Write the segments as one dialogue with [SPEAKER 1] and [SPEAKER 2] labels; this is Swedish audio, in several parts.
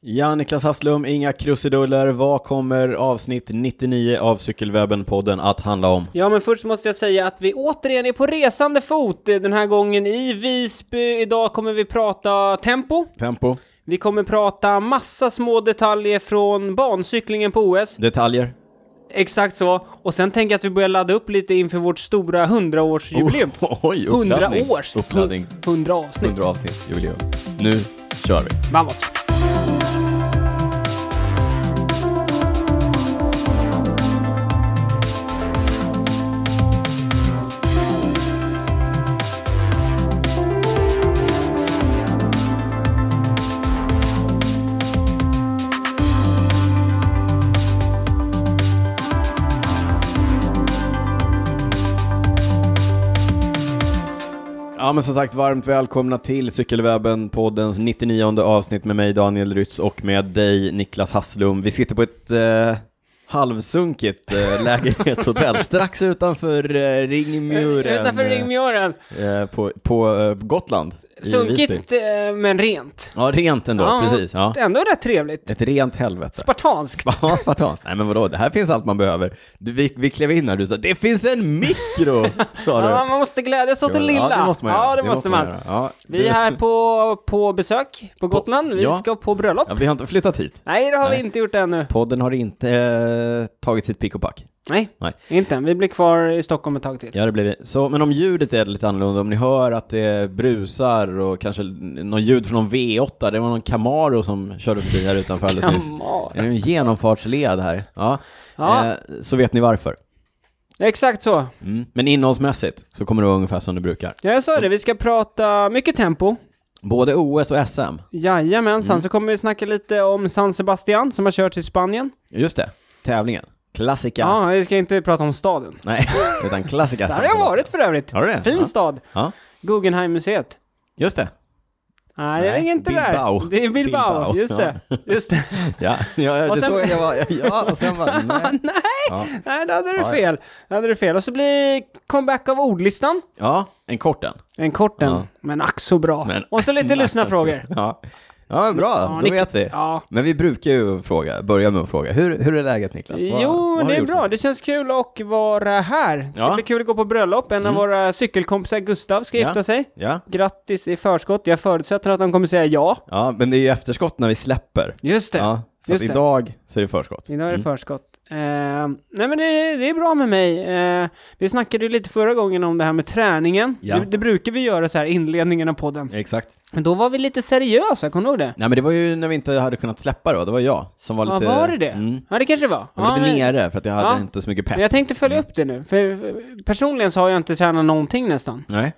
[SPEAKER 1] Ja, Niklas Hasslum, inga krusiduller. Vad kommer avsnitt 99 av Cykelwebben-podden att handla om?
[SPEAKER 2] Ja, men först måste jag säga att vi återigen är på resande fot eh, den här gången i Visby. Idag kommer vi prata tempo.
[SPEAKER 1] Tempo,
[SPEAKER 2] Vi kommer prata massa små detaljer från bancyklingen på OS.
[SPEAKER 1] detaljer.
[SPEAKER 2] Exakt så. Och sen tänker jag att vi börjar ladda upp lite inför vårt stora 100-årsjubileum.
[SPEAKER 1] Oh, oj,
[SPEAKER 2] 100
[SPEAKER 1] uppladdning.
[SPEAKER 2] års!
[SPEAKER 1] Uppladdning.
[SPEAKER 2] 100 avsnitt.
[SPEAKER 1] 100 avsnitt, jubileum. Nu kör vi.
[SPEAKER 2] Vamos!
[SPEAKER 1] Ja, men som sagt, varmt välkomna till Cykelwebben-poddens 99 avsnitt med mig Daniel Rytz och med dig Niklas Hasslum. Vi sitter på ett eh, halvsunkigt eh, lägenhetshotell strax utanför eh, Ringmuren.
[SPEAKER 2] Utanför
[SPEAKER 1] eh,
[SPEAKER 2] ringmjören.
[SPEAKER 1] Eh, på, på eh, Gotland. i Visby.
[SPEAKER 2] Sunkigt, eh, men rent.
[SPEAKER 1] Ja, rent ändå,
[SPEAKER 2] Ja.
[SPEAKER 1] precis. Ja.
[SPEAKER 2] Ändå rätt trevligt.
[SPEAKER 1] Ett rent helvete.
[SPEAKER 2] Spartanskt.
[SPEAKER 1] Ja, spartanskt. Nej men vadå, det här finns allt man behöver. Du, vi, vi klev in här, du sa det finns en mikro! Sa du.
[SPEAKER 2] Ja, man måste glädjas åt det lilla.
[SPEAKER 1] Ja, det måste man göra.
[SPEAKER 2] Ja, det måste man.
[SPEAKER 1] göra. Ja,
[SPEAKER 2] Vi är här på, på besök på Gotland. Vi
[SPEAKER 1] ja.
[SPEAKER 2] ska på bröllop.
[SPEAKER 1] Ja, vi har inte flyttat hit.
[SPEAKER 2] Nej, det har
[SPEAKER 1] Nej.
[SPEAKER 2] vi inte gjort ännu.
[SPEAKER 1] Podden har inte eh, tagit sitt pick och pack.
[SPEAKER 2] Nej,
[SPEAKER 1] Nej.
[SPEAKER 2] inte än. Vi blir kvar i Stockholm ett tag till.
[SPEAKER 1] Ja, det blir vi. Så, men om ljudet är lite annorlunda, om ni hör att det brusar och kanske något ljud från någon V8, det var någon Camaro som körde förbi här utanför alldeles nyss.
[SPEAKER 2] Kamar.
[SPEAKER 1] Det är en genomfartsled här. Ja.
[SPEAKER 2] Ja.
[SPEAKER 1] Eh, så vet ni varför.
[SPEAKER 2] Exakt så.
[SPEAKER 1] Mm. Men innehållsmässigt så kommer det vara ungefär som det brukar.
[SPEAKER 2] Ja, jag sa det. Vi ska prata mycket tempo.
[SPEAKER 1] Både OS och SM. Mm.
[SPEAKER 2] Jajamensan. Så kommer vi snacka lite om San Sebastian som har kört i Spanien.
[SPEAKER 1] Just det, tävlingen. Klassika.
[SPEAKER 2] Ja, vi ska inte prata om staden.
[SPEAKER 1] Nej, utan klassika.
[SPEAKER 2] Där har jag varit för övrigt.
[SPEAKER 1] Har du det?
[SPEAKER 2] Fin
[SPEAKER 1] Ja.
[SPEAKER 2] stad.
[SPEAKER 1] Ja,
[SPEAKER 2] Guggenheimmuseet.
[SPEAKER 1] just det.
[SPEAKER 2] Nej, det är
[SPEAKER 1] Nej,
[SPEAKER 2] inte
[SPEAKER 1] Bilbao.
[SPEAKER 2] där. Det är Bilbao.
[SPEAKER 1] Bilbao,
[SPEAKER 2] Just det. Just det.
[SPEAKER 1] Ja, ja det
[SPEAKER 2] Och sen-
[SPEAKER 1] såg jag. jag. Var, ja, och sen var nej.
[SPEAKER 2] Nej,
[SPEAKER 1] Ja.
[SPEAKER 2] nej, då hade du
[SPEAKER 1] Ja, ja.
[SPEAKER 2] fel. Då hade du fel. Och så blir comeback av ordlistan.
[SPEAKER 1] ja, en kort en.
[SPEAKER 2] En kort en,
[SPEAKER 1] Ja.
[SPEAKER 2] men ack så bra.
[SPEAKER 1] Men-
[SPEAKER 2] Och så lite lyssnarfrågor.
[SPEAKER 1] Ja, ja bra.
[SPEAKER 2] Ja,
[SPEAKER 1] då
[SPEAKER 2] Nik-
[SPEAKER 1] vet vi.
[SPEAKER 2] Ja.
[SPEAKER 1] Men vi brukar ju fråga, börja med att fråga. Hur, hur är läget Niklas? Alltså, Vad-
[SPEAKER 2] Jo,
[SPEAKER 1] vad har du
[SPEAKER 2] det är
[SPEAKER 1] gjort
[SPEAKER 2] bra.
[SPEAKER 1] sen?
[SPEAKER 2] Det känns kul att vara här. Det ska
[SPEAKER 1] Ja. Mm.
[SPEAKER 2] bli kul att gå på bröllop. En av våra cykelkompisar, Gustav, ska
[SPEAKER 1] Ja.
[SPEAKER 2] gifta sig.
[SPEAKER 1] Ja.
[SPEAKER 2] Grattis i förskott. Jag förutsätter att de kommer säga ja.
[SPEAKER 1] ja, men det är ju efterskott när vi släpper.
[SPEAKER 2] Just det.
[SPEAKER 1] Ja, Mm. så att
[SPEAKER 2] Just det.
[SPEAKER 1] idag så är det förskott.
[SPEAKER 2] Idag är det förskott. Eh, nej men det, det är bra med mig. Eh, vi snackade ju lite förra gången om det här med träningen.
[SPEAKER 1] Ja.
[SPEAKER 2] Det, det brukar vi göra så här i inledningen av podden.
[SPEAKER 1] Exakt.
[SPEAKER 2] Men då var vi lite seriösa, kommer du ihåg det?
[SPEAKER 1] Nej men det var ju när vi inte hade kunnat släppa då, det var jag som var
[SPEAKER 2] Ja,
[SPEAKER 1] lite...
[SPEAKER 2] var det det?
[SPEAKER 1] Mm,
[SPEAKER 2] Ja, det kanske det var.
[SPEAKER 1] jag var
[SPEAKER 2] ja,
[SPEAKER 1] lite
[SPEAKER 2] men-
[SPEAKER 1] nere för att jag hade
[SPEAKER 2] Ja.
[SPEAKER 1] inte så mycket pepp.
[SPEAKER 2] Men jag tänkte följa upp det nu, för personligen så har jag inte tränat någonting nästan.
[SPEAKER 1] Nej,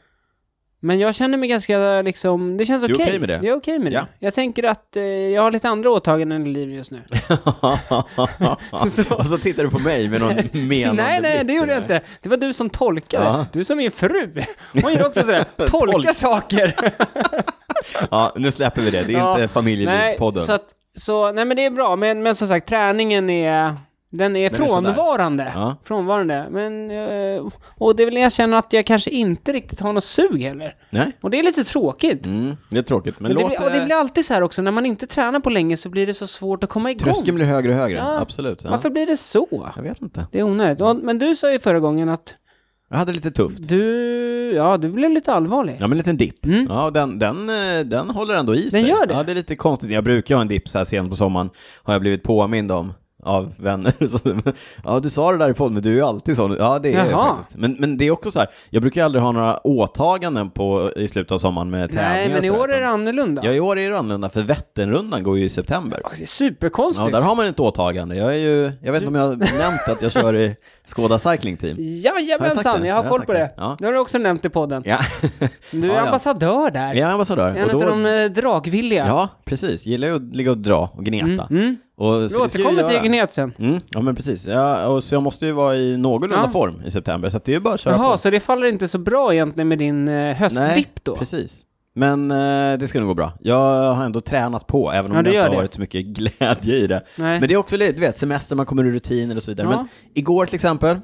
[SPEAKER 2] Men jag känner mig ganska liksom, det känns
[SPEAKER 1] Du är
[SPEAKER 2] okej.
[SPEAKER 1] okej med det?
[SPEAKER 2] Jag är okej med
[SPEAKER 1] Ja.
[SPEAKER 2] det. Jag tänker att eh, jag har lite andra åtaganden i livet just nu. Så-
[SPEAKER 1] Och så tittar du på mig med någon menande
[SPEAKER 2] nej, nej, det
[SPEAKER 1] blick.
[SPEAKER 2] gjorde jag inte. Det var du som tolkade.
[SPEAKER 1] Ja.
[SPEAKER 2] Du som min fru. Hon gör också sådär, tolka
[SPEAKER 1] Tolk.
[SPEAKER 2] saker.
[SPEAKER 1] Ja, nu släpper vi det. Det är
[SPEAKER 2] Ja,
[SPEAKER 1] inte familjelivspodden.
[SPEAKER 2] Nej, så, att, så, nej men det är bra, men, men som sagt träningen är, den är
[SPEAKER 1] Den är sådär.
[SPEAKER 2] frånvarande.
[SPEAKER 1] Ja.
[SPEAKER 2] Frånvarande. Men, eh, och det är väl när jag känner att jag kanske inte riktigt har något sug heller.
[SPEAKER 1] Nej.
[SPEAKER 2] Och det är lite tråkigt.
[SPEAKER 1] Mm, det är tråkigt, men,
[SPEAKER 2] Men det
[SPEAKER 1] låt eh,
[SPEAKER 2] blir, och det blir alltid så här också, när man inte tränar på länge så blir det så svårt att komma igång.
[SPEAKER 1] Tröskeln blir högre och högre,
[SPEAKER 2] Ja.
[SPEAKER 1] absolut. Ja.
[SPEAKER 2] Varför blir det så?
[SPEAKER 1] Jag vet inte.
[SPEAKER 2] Det är onödigt. Och- Men du sa ju förra gången att
[SPEAKER 1] Jag hade lite tufft.
[SPEAKER 2] du, ja du blev lite allvarlig.
[SPEAKER 1] Ja, men en liten dipp.
[SPEAKER 2] Mm.
[SPEAKER 1] Ja, och den, den, eh, den håller ändå i sig.
[SPEAKER 2] gör det.
[SPEAKER 1] Ja, det är lite konstigt. Jag brukar ha en dipp så här sent på sommaren, har jag blivit påmind om av vänner. Så- ja, du sa det där i podden, men du är ju alltid sån. Ja, det är jag
[SPEAKER 2] Jaha.
[SPEAKER 1] faktiskt. Men, men det är också så här, jag brukar ju aldrig ha några åtaganden på, i slutet av sommaren med tävlingar
[SPEAKER 2] Nej, men
[SPEAKER 1] och
[SPEAKER 2] i
[SPEAKER 1] så där,
[SPEAKER 2] år är
[SPEAKER 1] utan-
[SPEAKER 2] det annorlunda.
[SPEAKER 1] Ja, i år är det annorlunda, för Vätternrundan går ju i september.
[SPEAKER 2] Det är superkonstigt.
[SPEAKER 1] Ja, där har man ett åtagande. Jag är ju, jag vet inte om jag har nämnt att jag kör i Skåda Cycling Team. Har jag sagt
[SPEAKER 2] Jajamensan,
[SPEAKER 1] det?
[SPEAKER 2] jag har
[SPEAKER 1] Jag har
[SPEAKER 2] koll
[SPEAKER 1] sagt
[SPEAKER 2] på
[SPEAKER 1] det.
[SPEAKER 2] det.
[SPEAKER 1] Ja.
[SPEAKER 2] Det har du också nämnt i podden.
[SPEAKER 1] Ja,
[SPEAKER 2] Du är
[SPEAKER 1] Ja, ja.
[SPEAKER 2] ambassadör där.
[SPEAKER 1] jag är ambassadör.
[SPEAKER 2] En
[SPEAKER 1] Och
[SPEAKER 2] av
[SPEAKER 1] då-
[SPEAKER 2] de eh, dragvilliga.
[SPEAKER 1] Ja, precis. Gillar ju att ligga och dra och gneta.
[SPEAKER 2] Mm, mm.
[SPEAKER 1] Och,
[SPEAKER 2] Du
[SPEAKER 1] så det ska jag
[SPEAKER 2] återkommer till
[SPEAKER 1] göra.
[SPEAKER 2] Gnet sen.
[SPEAKER 1] Mm, ja men precis. Ja, och så jag måste ju vara i någorlunda
[SPEAKER 2] Ja.
[SPEAKER 1] form i september, så att det är ju bara att köra
[SPEAKER 2] Jaha,
[SPEAKER 1] på.
[SPEAKER 2] så det faller inte så bra egentligen med din eh, höstdipp då?
[SPEAKER 1] precis. Men eh, det ska nog gå bra. Jag har ändå tränat på, även om
[SPEAKER 2] Ja, du
[SPEAKER 1] det inte
[SPEAKER 2] gör
[SPEAKER 1] har
[SPEAKER 2] det.
[SPEAKER 1] varit så mycket glädje i det.
[SPEAKER 2] Nej.
[SPEAKER 1] Men det är också, lite, du vet, semester, man kommer ur rutiner och så vidare.
[SPEAKER 2] Ja.
[SPEAKER 1] Men igår till exempel,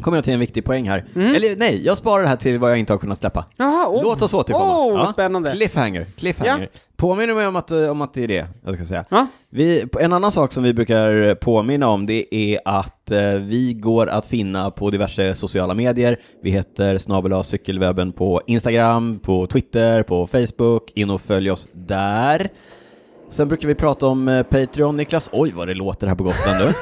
[SPEAKER 1] kommer jag till en viktig poäng här. Eller nej, jag sparar det här till vad jag inte har kunnat släppa.
[SPEAKER 2] Jaha, Mm. oh.
[SPEAKER 1] Låt oss återkomma.
[SPEAKER 2] Oh, spännande.
[SPEAKER 1] Cliffhanger, cliffhanger. Påminner mig om att, eh, om att det är det jag ska säga.
[SPEAKER 2] Ja.
[SPEAKER 1] Vi, en annan sak som vi brukar påminna om det är att eh, vi går att finna på diverse sociala medier. Vi heter snabel cykelwebben på Instagram, på Twitter, på Facebook. In och följ oss där. Sen brukar vi prata om eh, Patreon, Niklas. Oj, vad det låter här på Gotland du.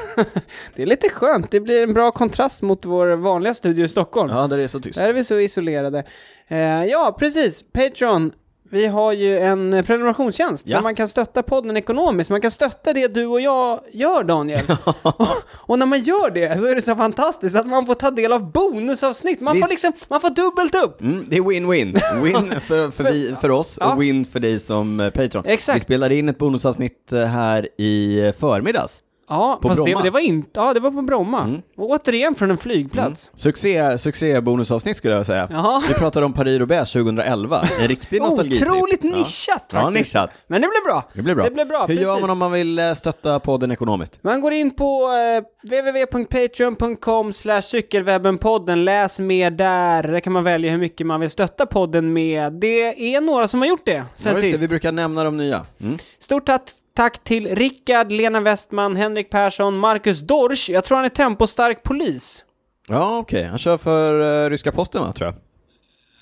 [SPEAKER 2] Det är lite skönt, det blir en bra kontrast mot vår vanliga studio i Stockholm.
[SPEAKER 1] Ja, där är det så tyst.
[SPEAKER 2] Där är vi så isolerade. Eh, ja, precis. Patreon. Vi har ju en eh, prenumerationstjänst
[SPEAKER 1] Ja.
[SPEAKER 2] där man kan stötta podden ekonomiskt. Man kan stötta det du och jag gör, Daniel. och, och när man gör det så är det så fantastiskt att man får ta del av bonusavsnitt. Man,
[SPEAKER 1] Visst.
[SPEAKER 2] får, liksom, man får dubbelt upp.
[SPEAKER 1] Mm, det är win-win. Win för, för, vi, för oss
[SPEAKER 2] Ja.
[SPEAKER 1] och win för dig som eh, Patreon.
[SPEAKER 2] Exakt.
[SPEAKER 1] Vi spelade in ett bonusavsnitt eh, här i eh, förmiddags.
[SPEAKER 2] Ja,
[SPEAKER 1] På
[SPEAKER 2] fast det,
[SPEAKER 1] Bromma.
[SPEAKER 2] det var inte... Ja, det var på Bromma.
[SPEAKER 1] Mm.
[SPEAKER 2] Och återigen från en flygplats.
[SPEAKER 1] Succé, succé bonusavsnitt skulle jag säga.
[SPEAKER 2] Jaha. Oh,
[SPEAKER 1] Vi pratade om Paris Roubaix 2011. En riktig nostalgi.
[SPEAKER 2] Otroligt nischat
[SPEAKER 1] Ja,
[SPEAKER 2] faktiskt.
[SPEAKER 1] nischat.
[SPEAKER 2] Men det blev bra.
[SPEAKER 1] Det blir bra.
[SPEAKER 2] Det blir bra,
[SPEAKER 1] Hur gör
[SPEAKER 2] precis.
[SPEAKER 1] man om man vill eh, stötta podden ekonomiskt?
[SPEAKER 2] Man går in på eh, www.patreon.com slash cykelwebbenpodden, läs mer där. Där kan man välja hur mycket man vill stötta podden med. Det är några som har gjort det
[SPEAKER 1] Ja,
[SPEAKER 2] sen
[SPEAKER 1] just det,
[SPEAKER 2] sist.
[SPEAKER 1] vi brukar nämna de nya. Mm.
[SPEAKER 2] Stort tack, tack till Rickard, Lena Westman, Henrik Persson, Marcus Dorsch. Jag tror han är tempostark polis.
[SPEAKER 1] Ja, okej. Han kör för eh, ryska posten, va, tror jag.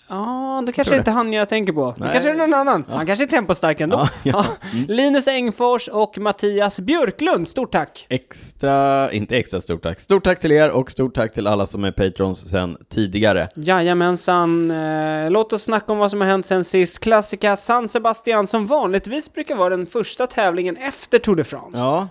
[SPEAKER 2] Ja, då kanske
[SPEAKER 1] tror
[SPEAKER 2] det inte är han jag tänker på. Det
[SPEAKER 1] Nej.
[SPEAKER 2] kanske är någon annan. Han kanske är tempostark ändå.
[SPEAKER 1] Ja, ja. Mm.
[SPEAKER 2] Ja. Linus Engfors och Mattias Björklund, stort tack.
[SPEAKER 1] Extra, inte extra stort tack. Stort tack till er och stort tack till alla som är patrons sedan tidigare.
[SPEAKER 2] Jajamensan, eh, låt oss snacka om vad som har hänt sen sist. Klassiska San Sebastian som vanligtvis brukar vara den första tävlingen efter Tour de France.
[SPEAKER 1] Ja.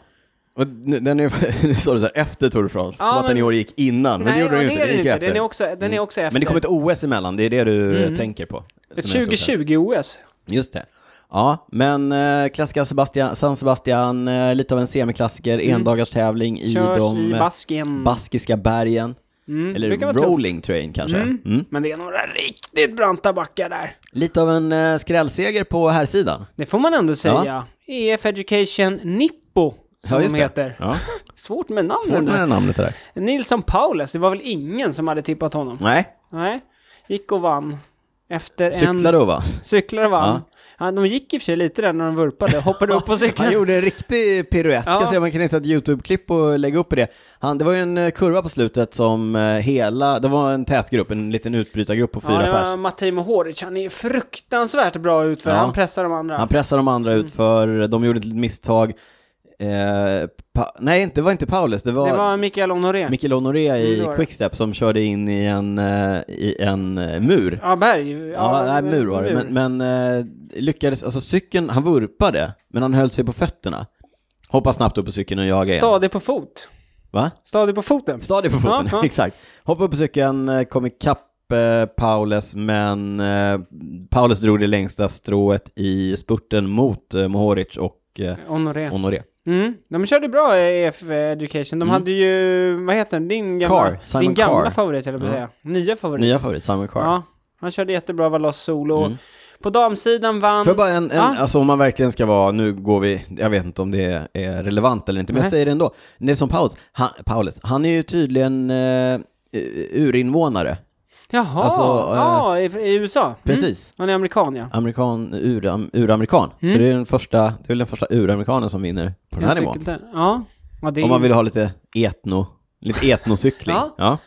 [SPEAKER 1] Och nu- den är, nu sa du så här, efter Tour de France,
[SPEAKER 2] Ja,
[SPEAKER 1] som att den
[SPEAKER 2] men-
[SPEAKER 1] i år gick innan, men det gjorde
[SPEAKER 2] ja,
[SPEAKER 1] den ju inte,
[SPEAKER 2] är
[SPEAKER 1] den gick ju efter. Mm.
[SPEAKER 2] Den är också, den är också efter. Mm.
[SPEAKER 1] Men det kom ett OS emellan, det är det du eh, tänker på. som är
[SPEAKER 2] ett
[SPEAKER 1] en stor tävling.
[SPEAKER 2] 2020-OS.
[SPEAKER 1] Just det. Ja, men eh, klassiska Sebastian, San Sebastian, eh, lite av en semiklassiker, endagarstävling i
[SPEAKER 2] Mm. Körs
[SPEAKER 1] de
[SPEAKER 2] i mm.
[SPEAKER 1] eh,
[SPEAKER 2] Baskien.
[SPEAKER 1] baskiska bergen.
[SPEAKER 2] brukar
[SPEAKER 1] Eller
[SPEAKER 2] vara tufft.
[SPEAKER 1] rolling terrain kanske. Mm.
[SPEAKER 2] Men det är några riktigt branta backar där.
[SPEAKER 1] Lite av en eh, skrällseger på här sidan.
[SPEAKER 2] Det får man ändå säga. EF Education Nippo, som de heter.
[SPEAKER 1] Ja.
[SPEAKER 2] Svårt med
[SPEAKER 1] Svårt med
[SPEAKER 2] namnen.
[SPEAKER 1] det
[SPEAKER 2] där.
[SPEAKER 1] här namnet det där.
[SPEAKER 2] Nilsson Paulus, det var väl ingen som hade tippat honom?
[SPEAKER 1] Nej,
[SPEAKER 2] Nej, gick och vann. Efter
[SPEAKER 1] cyklade
[SPEAKER 2] en...
[SPEAKER 1] och vann.
[SPEAKER 2] Cyklade vann. Ja. de gick i och för sig lite där när de vurpade, hoppade upp och
[SPEAKER 1] Han
[SPEAKER 2] cyklade.
[SPEAKER 1] gjorde en riktig piruett,
[SPEAKER 2] Ja.
[SPEAKER 1] ska se om man kan hitta ett YouTube-klipp och lägga upp på det. Han, det var ju en eh, kurva på slutet som eh, hela, det var en tät grupp, en liten utbrytargrupp på fyra
[SPEAKER 2] ja, det var
[SPEAKER 1] pers.
[SPEAKER 2] Matteo Horic, han är fruktansvärt bra utför,
[SPEAKER 1] Ja.
[SPEAKER 2] han pressar de andra.
[SPEAKER 1] Han pressade de andra
[SPEAKER 2] Mm.
[SPEAKER 1] ut för de gjorde ett litet misstag. Eh, pa- nej, det var inte Paulus, det var,
[SPEAKER 2] Det var Mikael Honoré.
[SPEAKER 1] Mikael Honoré
[SPEAKER 2] Mm, det
[SPEAKER 1] i
[SPEAKER 2] var det.
[SPEAKER 1] Quickstep som körde in i en, eh, i en eh, mur.
[SPEAKER 2] ja, Berg.
[SPEAKER 1] Ja, nej, mur var det.
[SPEAKER 2] mur.
[SPEAKER 1] Men, men eh, lyckades, alltså cykeln, han vurpade, men han höll sig på fötterna. Hoppade snabbt upp på cykeln och jagade igen.
[SPEAKER 2] Stadig på fot.
[SPEAKER 1] Va?
[SPEAKER 2] Stadig på foten.
[SPEAKER 1] Stadig på foten,
[SPEAKER 2] Ja, ja.
[SPEAKER 1] exakt. Hoppade upp på cykeln, eh, kom ikapp eh, Paulus, men eh, Paulus drog det längsta strået i spurten mot eh, Mohoric och eh,
[SPEAKER 2] Honoré.
[SPEAKER 1] Honoré.
[SPEAKER 2] Mm. De körde bra eh, EF Education. De hade ju, vad heter den, din gamla,
[SPEAKER 1] Mm. Carr, Simon
[SPEAKER 2] din gamla
[SPEAKER 1] Carr.
[SPEAKER 2] favorit, eller jag
[SPEAKER 1] Ja.
[SPEAKER 2] säga. Nya favorit.
[SPEAKER 1] Nya favorit, Simon Carr. Mm.
[SPEAKER 2] Ja, han körde jättebra Valos solo. På damsidan vann...
[SPEAKER 1] Får jag bara en, en
[SPEAKER 2] Ja.
[SPEAKER 1] alltså om man verkligen ska vara, nu går vi, jag vet inte om det är relevant eller inte, men
[SPEAKER 2] Nej.
[SPEAKER 1] jag säger det ändå. Det är som Paulus, han, Paulus, han är ju tydligen eh,
[SPEAKER 2] Mm.
[SPEAKER 1] urinvånare.
[SPEAKER 2] Jaha,
[SPEAKER 1] Alltså, eh,
[SPEAKER 2] ja, i, i USA. Mm.
[SPEAKER 1] Precis.
[SPEAKER 2] Han är amerikan ja.
[SPEAKER 1] Amerikan, uram, uramerikan. Så det är den första, det är väl den första uramerikanen som vinner på den här
[SPEAKER 2] Mm. Jag
[SPEAKER 1] nivån.
[SPEAKER 2] cyklade- Ja. Ja det, är
[SPEAKER 1] Om man
[SPEAKER 2] ju-
[SPEAKER 1] vill ha lite etno, lite etnocykling.
[SPEAKER 2] Ja.
[SPEAKER 1] ja.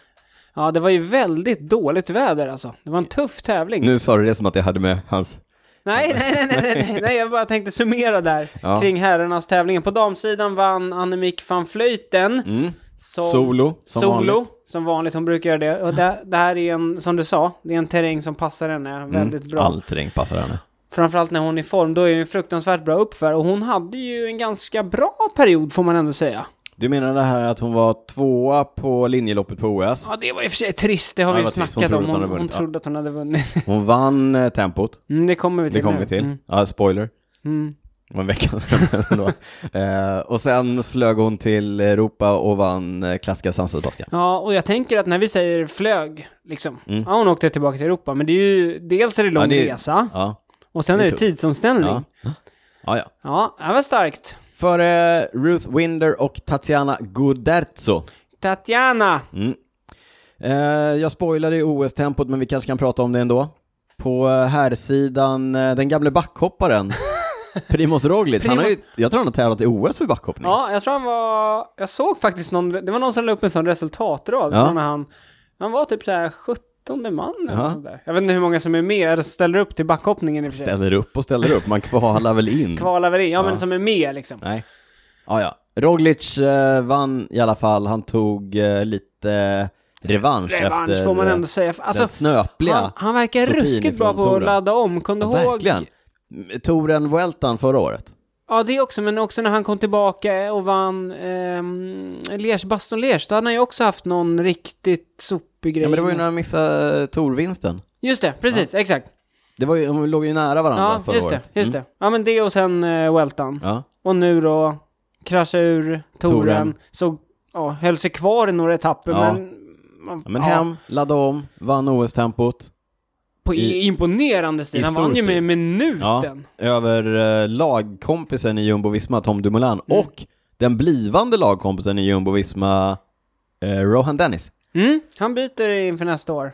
[SPEAKER 2] ja, det var ju väldigt dåligt väder alltså. Det var en tuff tävling.
[SPEAKER 1] Nu sa du det som att jag hade med hans...
[SPEAKER 2] Nej, nej, nej, nej, nej, nej, nej, jag bara tänkte summera där
[SPEAKER 1] Ja.
[SPEAKER 2] kring herrarnas tävlingen. På damsidan vann Annemiek van Vleuten.
[SPEAKER 1] Mm.
[SPEAKER 2] Som,
[SPEAKER 1] Solo, som
[SPEAKER 2] solo,
[SPEAKER 1] vanligt.
[SPEAKER 2] som vanligt. Hon brukar göra det. Och det, det här är ju en, som du sa, det är en terräng som passar henne Mm. väldigt bra.
[SPEAKER 1] Mm, All terräng passar henne.
[SPEAKER 2] Framförallt när hon är i form, då är hon ju fruktansvärt bra uppför. Och hon hade ju en ganska bra period får man ändå säga.
[SPEAKER 1] Du menar det här att hon var tvåa på linjeloppet på OS?
[SPEAKER 2] Ja, det var i och för sig trist, det har
[SPEAKER 1] Ja,
[SPEAKER 2] vi
[SPEAKER 1] det
[SPEAKER 2] ju
[SPEAKER 1] var trist.
[SPEAKER 2] snackat
[SPEAKER 1] Hon
[SPEAKER 2] om.
[SPEAKER 1] trodde att hon hade
[SPEAKER 2] Hon, hon
[SPEAKER 1] vunnit, ja.
[SPEAKER 2] trodde att hon hade vunnit.
[SPEAKER 1] Hon vann eh, tempot,
[SPEAKER 2] Mm, det kommer vi till
[SPEAKER 1] det kommer
[SPEAKER 2] nu.
[SPEAKER 1] vi till.
[SPEAKER 2] Mm.
[SPEAKER 1] Ja, spoiler.
[SPEAKER 2] Mm.
[SPEAKER 1] Det var en vecka sedan ändå. eh, och sen flög hon till Europa och vann eh, klassiska San Sebastian.
[SPEAKER 2] Ja, och jag tänker att när vi säger flög, liksom.
[SPEAKER 1] Mm.
[SPEAKER 2] Ja, hon åkte tillbaka till Europa, men det är ju, dels är det lång
[SPEAKER 1] Ja, det är-
[SPEAKER 2] resa,
[SPEAKER 1] Ja.
[SPEAKER 2] och sen
[SPEAKER 1] det
[SPEAKER 2] är
[SPEAKER 1] är
[SPEAKER 2] det
[SPEAKER 1] tufft.
[SPEAKER 2] tidsomställning.
[SPEAKER 1] Ja.
[SPEAKER 2] Ja,
[SPEAKER 1] ja, ja.
[SPEAKER 2] det var starkt.
[SPEAKER 1] Före Ruth Winder och Tatiana Guderzo.
[SPEAKER 2] Tatjana!
[SPEAKER 1] Mm. Eh, jag spoilade i OS-tempot, men vi kanske kan prata om det ändå. På eh, herrsidan, eh, den gamle backhopparen, Primoz Roglic. Han har ju, jag tror han har tävlat i OS för backhoppning.
[SPEAKER 2] Ja, jag tror han var... Jag såg faktiskt någon... Det var någon som la upp en sån resultatrad.
[SPEAKER 1] Ja.
[SPEAKER 2] När han, han var typ så här 17 man eller
[SPEAKER 1] Ja.
[SPEAKER 2] något sånt där. Jag vet inte hur många som är med, eller ställer upp till backhoppningen i och för sig.
[SPEAKER 1] Ställer upp och ställer upp, man kvalar väl in.
[SPEAKER 2] Kvalar väl in, ja,
[SPEAKER 1] Ja.
[SPEAKER 2] men som är med liksom.
[SPEAKER 1] Nej. Ah, ja. Roglic eh, vann i alla fall, han tog eh, lite revansch,
[SPEAKER 2] Revansch
[SPEAKER 1] efter
[SPEAKER 2] får man
[SPEAKER 1] eh,
[SPEAKER 2] ändå säga.
[SPEAKER 1] den
[SPEAKER 2] Alltså,
[SPEAKER 1] snöpliga.
[SPEAKER 2] han, han verkar
[SPEAKER 1] Sopin
[SPEAKER 2] ruskigt bra
[SPEAKER 1] ifrån
[SPEAKER 2] på att
[SPEAKER 1] Toren.
[SPEAKER 2] ladda om. Kom du
[SPEAKER 1] Ja,
[SPEAKER 2] ihåg?
[SPEAKER 1] Verkligen. Toren Vueltan förra året.
[SPEAKER 2] Ja, det också, men också när han kom tillbaka och vann ehm, Liers, Baston Liers, då hade han ju också haft någon riktigt sopig grej.
[SPEAKER 1] Ja, men det var ju när han missade eh, Torvinsten.
[SPEAKER 2] Just det, precis, exakt.
[SPEAKER 1] Det var ju, de låg ju nära varandra
[SPEAKER 2] Ja,
[SPEAKER 1] förra
[SPEAKER 2] just det,
[SPEAKER 1] året. Mm.
[SPEAKER 2] just det. Ja, men det och sen eh, Weltan.
[SPEAKER 1] Ja.
[SPEAKER 2] Och nu då, krascha ur
[SPEAKER 1] Touren.
[SPEAKER 2] touren, så ja, höll sig kvar i några etapper,
[SPEAKER 1] Ja.
[SPEAKER 2] men... man-
[SPEAKER 1] Ja, men
[SPEAKER 2] ja,
[SPEAKER 1] hem, ladda om, vann OS-tempot.
[SPEAKER 2] På
[SPEAKER 1] i-
[SPEAKER 2] i, imponerande stil.
[SPEAKER 1] i
[SPEAKER 2] Han
[SPEAKER 1] stor
[SPEAKER 2] vann ju
[SPEAKER 1] stil.
[SPEAKER 2] med
[SPEAKER 1] Ja,
[SPEAKER 2] minuten.
[SPEAKER 1] över eh, lagkompisen i Jumbo-Visma, Tom Dumoulin,
[SPEAKER 2] Mm.
[SPEAKER 1] och den blivande lagkompisen i Jumbo-Visma, eh, Rohan Dennis.
[SPEAKER 2] Mm, han byter inför nästa år.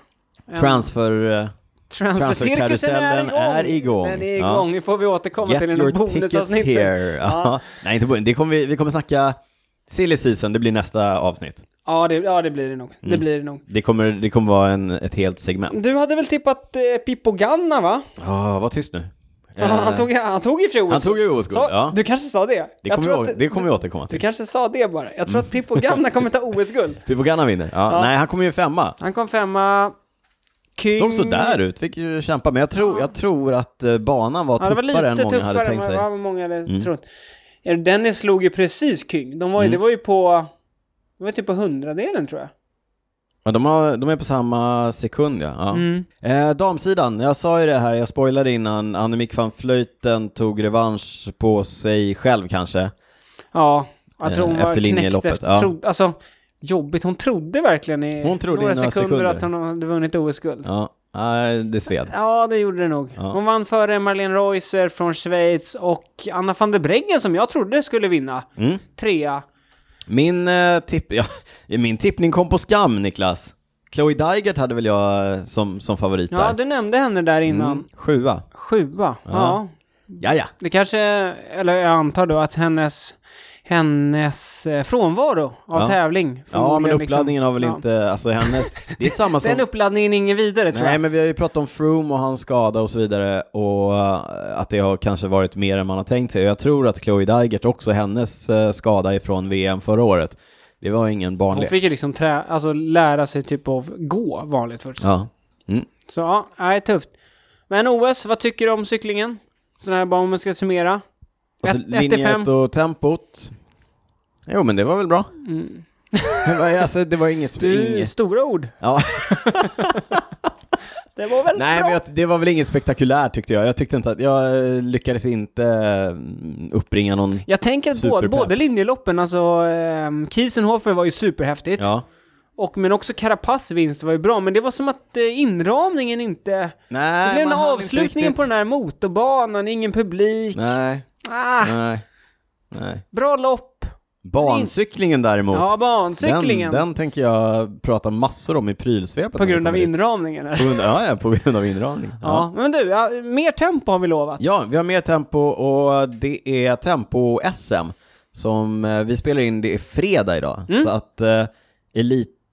[SPEAKER 2] En-
[SPEAKER 1] Transfer... Eh,
[SPEAKER 2] Transfercirkusen
[SPEAKER 1] Transferkarusellen är
[SPEAKER 2] är igång!
[SPEAKER 1] igång.
[SPEAKER 2] Den är
[SPEAKER 1] Ja.
[SPEAKER 2] igång, nu får vi återkomma
[SPEAKER 1] Get
[SPEAKER 2] till den
[SPEAKER 1] your
[SPEAKER 2] i
[SPEAKER 1] tickets
[SPEAKER 2] bonusavsnittet.
[SPEAKER 1] here. Ja.
[SPEAKER 2] Ja.
[SPEAKER 1] Nej, inte bonus. Det kommer vi, vi kommer snacka silly season, det blir nästa avsnitt.
[SPEAKER 2] Ja det, ja, det blir det nog.
[SPEAKER 1] Mm.
[SPEAKER 2] Det blir det nog.
[SPEAKER 1] Det kommer, det kommer vara en, ett helt segment.
[SPEAKER 2] Du hade väl tippat eh, Pippo Ganna, va?
[SPEAKER 1] Ja, var tyst nu.
[SPEAKER 2] Ja, Mm. Han, tog, han tog i och för sig
[SPEAKER 1] Eh. Han
[SPEAKER 2] OS-guld.
[SPEAKER 1] tog ju OS-guld,
[SPEAKER 2] Sa-
[SPEAKER 1] ja.
[SPEAKER 2] Du kanske sa det?
[SPEAKER 1] Det
[SPEAKER 2] Jag
[SPEAKER 1] kommer, vi,
[SPEAKER 2] tror
[SPEAKER 1] å-
[SPEAKER 2] att-
[SPEAKER 1] det kommer Mm. vi återkomma
[SPEAKER 2] Du
[SPEAKER 1] till.
[SPEAKER 2] kanske sa det bara. Jag tror att Pippo Ganna kommer ta OS-guld.
[SPEAKER 1] Pipogana vinner. Ja.
[SPEAKER 2] Ja.
[SPEAKER 1] Nej, han kommer ju femma.
[SPEAKER 2] Han kom femma. King...
[SPEAKER 1] Såg sådär ut, fick ju kämpa. Men jag tror, jag tror att eh, banan var
[SPEAKER 2] Ja, det var
[SPEAKER 1] tuffare
[SPEAKER 2] lite
[SPEAKER 1] än många
[SPEAKER 2] tuffare
[SPEAKER 1] hade tänkt
[SPEAKER 2] än
[SPEAKER 1] sig. Mm.
[SPEAKER 2] vad vad många hade trott. Ja, Dennis slog ju precis King. De var ju, Det var ju på... Det var typ på hundradelen tror jag.
[SPEAKER 1] Ja, de, har, de är på samma sekund ja. ja.
[SPEAKER 2] Mm.
[SPEAKER 1] Eh, damsidan, jag sa ju det här, jag spoilade innan, Annemiek van Vleuten tog revansch på sig själv kanske.
[SPEAKER 2] Ja, jag tror hon
[SPEAKER 1] Eh,
[SPEAKER 2] var
[SPEAKER 1] efter linjeloppet,
[SPEAKER 2] knäckt efter,
[SPEAKER 1] ja.
[SPEAKER 2] trodde, alltså, jobbigt. Hon trodde verkligen i
[SPEAKER 1] Hon trodde i några sekunder.
[SPEAKER 2] att hon hade vunnit OS-guld. Ja.
[SPEAKER 1] Ja, nej, det sved.
[SPEAKER 2] det gjorde det nog.
[SPEAKER 1] Ja.
[SPEAKER 2] Hon vann före Marlene Reusser från Schweiz och Anna van der Breggen som jag trodde skulle vinna.
[SPEAKER 1] Mm.
[SPEAKER 2] Trea.
[SPEAKER 1] Min, eh, tipp, ja, min tippning kom på skam Niklas. Chloe Dygert hade väl jag eh, som, som favorit
[SPEAKER 2] Ja,
[SPEAKER 1] där.
[SPEAKER 2] du nämnde henne där innan.
[SPEAKER 1] Mm, sjua.
[SPEAKER 2] Sjua. Ja.
[SPEAKER 1] Ja. Ja, ja.
[SPEAKER 2] Det kanske, eller jag antar då att hennes, hennes eh, frånvaro av
[SPEAKER 1] Ja.
[SPEAKER 2] tävling.
[SPEAKER 1] Ja, men
[SPEAKER 2] förmodligen liksom-
[SPEAKER 1] uppladdningen har väl
[SPEAKER 2] ja.
[SPEAKER 1] inte, alltså hennes, det är samma som...
[SPEAKER 2] Den uppladdningen är ingen vidare tror
[SPEAKER 1] Nej,
[SPEAKER 2] jag.
[SPEAKER 1] men vi har ju pratat om Froome och hans skada och så vidare och eh, att det har kanske varit mer än man har tänkt sig. Och Jag tror att Chloe Dygert också, hennes eh, skada ifrån VM förra året, det var ingen
[SPEAKER 2] Hon
[SPEAKER 1] vanlig.
[SPEAKER 2] fick ju liksom trä, alltså lära sig typ av gå vanligt först.
[SPEAKER 1] Ja. Mm.
[SPEAKER 2] Så ja, nej, tufft. Men OS, vad tycker du om cyklingen? Sådär bara om man ska summera.
[SPEAKER 1] Alltså,
[SPEAKER 2] Ett- ett till
[SPEAKER 1] linjet
[SPEAKER 2] fem.
[SPEAKER 1] och tempot. Jo, men det var väl bra.
[SPEAKER 2] Mm.
[SPEAKER 1] Det var- alltså, det var inget...
[SPEAKER 2] Du,
[SPEAKER 1] inget
[SPEAKER 2] stora ord.
[SPEAKER 1] ja.
[SPEAKER 2] Det var väl
[SPEAKER 1] Nej,
[SPEAKER 2] bra?
[SPEAKER 1] men jag, det var väl inget spektakulärt tyckte jag. Jag tyckte inte att, jag eh, lyckades inte eh, uppbringa någon...
[SPEAKER 2] Jag tänker att både,
[SPEAKER 1] Superpepp.
[SPEAKER 2] både linjeloppen, alltså eh, Kiesenhofer var ju superhäftigt.
[SPEAKER 1] Ja.
[SPEAKER 2] Och, men också Carapaz vinst var ju bra, men det var som att eh, inramningen inte...
[SPEAKER 1] Nej,
[SPEAKER 2] det blev den
[SPEAKER 1] man
[SPEAKER 2] här
[SPEAKER 1] hann inte
[SPEAKER 2] avslutningen
[SPEAKER 1] riktigt-
[SPEAKER 2] på den här motorbanan, ingen publik.
[SPEAKER 1] Nej,
[SPEAKER 2] Ah,
[SPEAKER 1] nej, nej.
[SPEAKER 2] bra lopp.
[SPEAKER 1] Bancyklingen däremot.
[SPEAKER 2] Ja, bancyklingen.
[SPEAKER 1] Den, den tänker jag prata massor om i prylsvepet.
[SPEAKER 2] på
[SPEAKER 1] när vi
[SPEAKER 2] grund av
[SPEAKER 1] kommer dit. Mm.
[SPEAKER 2] inramningen. eller?
[SPEAKER 1] På grund- Ja, ja, på grund av inramning.
[SPEAKER 2] Ja. men du, ja, mer tempo har vi lovat.
[SPEAKER 1] ja, vi har mer tempo och det är tempo-SM som eh, vi spelar in, det är fredag idag.
[SPEAKER 2] Mm.
[SPEAKER 1] Så att eh,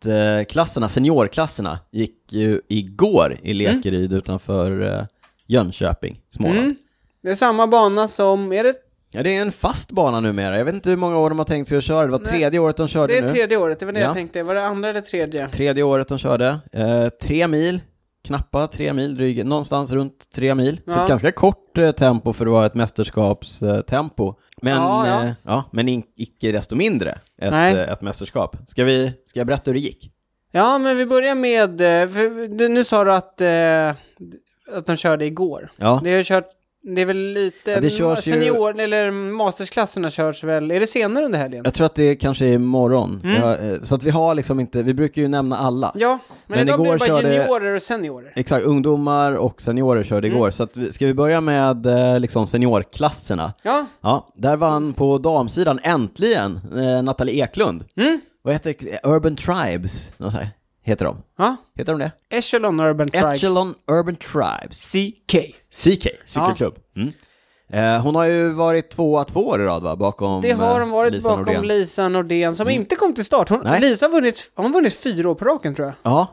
[SPEAKER 1] elitklasserna, seniorklasserna, gick ju igår
[SPEAKER 2] Mm.
[SPEAKER 1] i Lekeryd utanför eh, Jönköping, Småland.
[SPEAKER 2] Mm. Det är samma bana som, är det,
[SPEAKER 1] Ja, det är en fast bana numera. Jag vet inte hur många år de har tänkt sig att köra. Det var
[SPEAKER 2] Nej.
[SPEAKER 1] tredje året de körde
[SPEAKER 2] det är
[SPEAKER 1] nu.
[SPEAKER 2] tredje året, det var det
[SPEAKER 1] Ja.
[SPEAKER 2] jag tänkte. Var det andra eller tredje?
[SPEAKER 1] Tredje året de körde. Eh, tre mil, knappa tre mil, dryg, någonstans runt tre mil. Så
[SPEAKER 2] Ja.
[SPEAKER 1] ett ganska kort eh, tempo för att vara ett mästerskapstempo. Eh, tempo. men
[SPEAKER 2] Ja, ja.
[SPEAKER 1] Eh, ja, men in, icke desto mindre ett,
[SPEAKER 2] Nej.
[SPEAKER 1] eh, ett mästerskap. Ska, vi, ska jag berätta hur det gick?
[SPEAKER 2] Ja, men vi börjar med, eh, för, du, nu sa du att, eh, att de körde igår.
[SPEAKER 1] Ja,
[SPEAKER 2] Det har kört, det är väl lite,
[SPEAKER 1] Ja, det körs ju-
[SPEAKER 2] senior, eller mastersklasserna körs väl, är det senare under helgen?
[SPEAKER 1] jag tror att det kanske är imorgon.
[SPEAKER 2] Mm.
[SPEAKER 1] Ja, eh, så att vi har liksom inte, vi brukar ju nämna alla.
[SPEAKER 2] Ja, men,
[SPEAKER 1] Men
[SPEAKER 2] idag
[SPEAKER 1] igår
[SPEAKER 2] blir det bara
[SPEAKER 1] körde-
[SPEAKER 2] juniorer och seniorer.
[SPEAKER 1] Exakt, ungdomar och seniorer körde
[SPEAKER 2] Mm.
[SPEAKER 1] igår. Så att vi, ska vi börja med eh, liksom seniorklasserna?
[SPEAKER 2] Ja,
[SPEAKER 1] Ja, där vann på damsidan äntligen eh, Nathalie Eklund.
[SPEAKER 2] mm.
[SPEAKER 1] Vad heter Urban Tribes? Något så här. heter de.
[SPEAKER 2] Ja,
[SPEAKER 1] Heter de det?
[SPEAKER 2] Echelon Urban Tribes.
[SPEAKER 1] Echelon Urban Tribes.
[SPEAKER 2] CK.
[SPEAKER 1] CK, cykelklubb. Mm. Eh, hon har ju varit tvåa två år i rad va, bakom
[SPEAKER 2] Det har hon
[SPEAKER 1] eh,
[SPEAKER 2] varit
[SPEAKER 1] Lisa
[SPEAKER 2] bakom
[SPEAKER 1] Nordén. Mm.
[SPEAKER 2] Lisa Nordén som inte kom till start. Hon,
[SPEAKER 1] Nej.
[SPEAKER 2] Lisa har vunnit, har hon vunnit fyra år på raken tror jag.
[SPEAKER 1] Ja,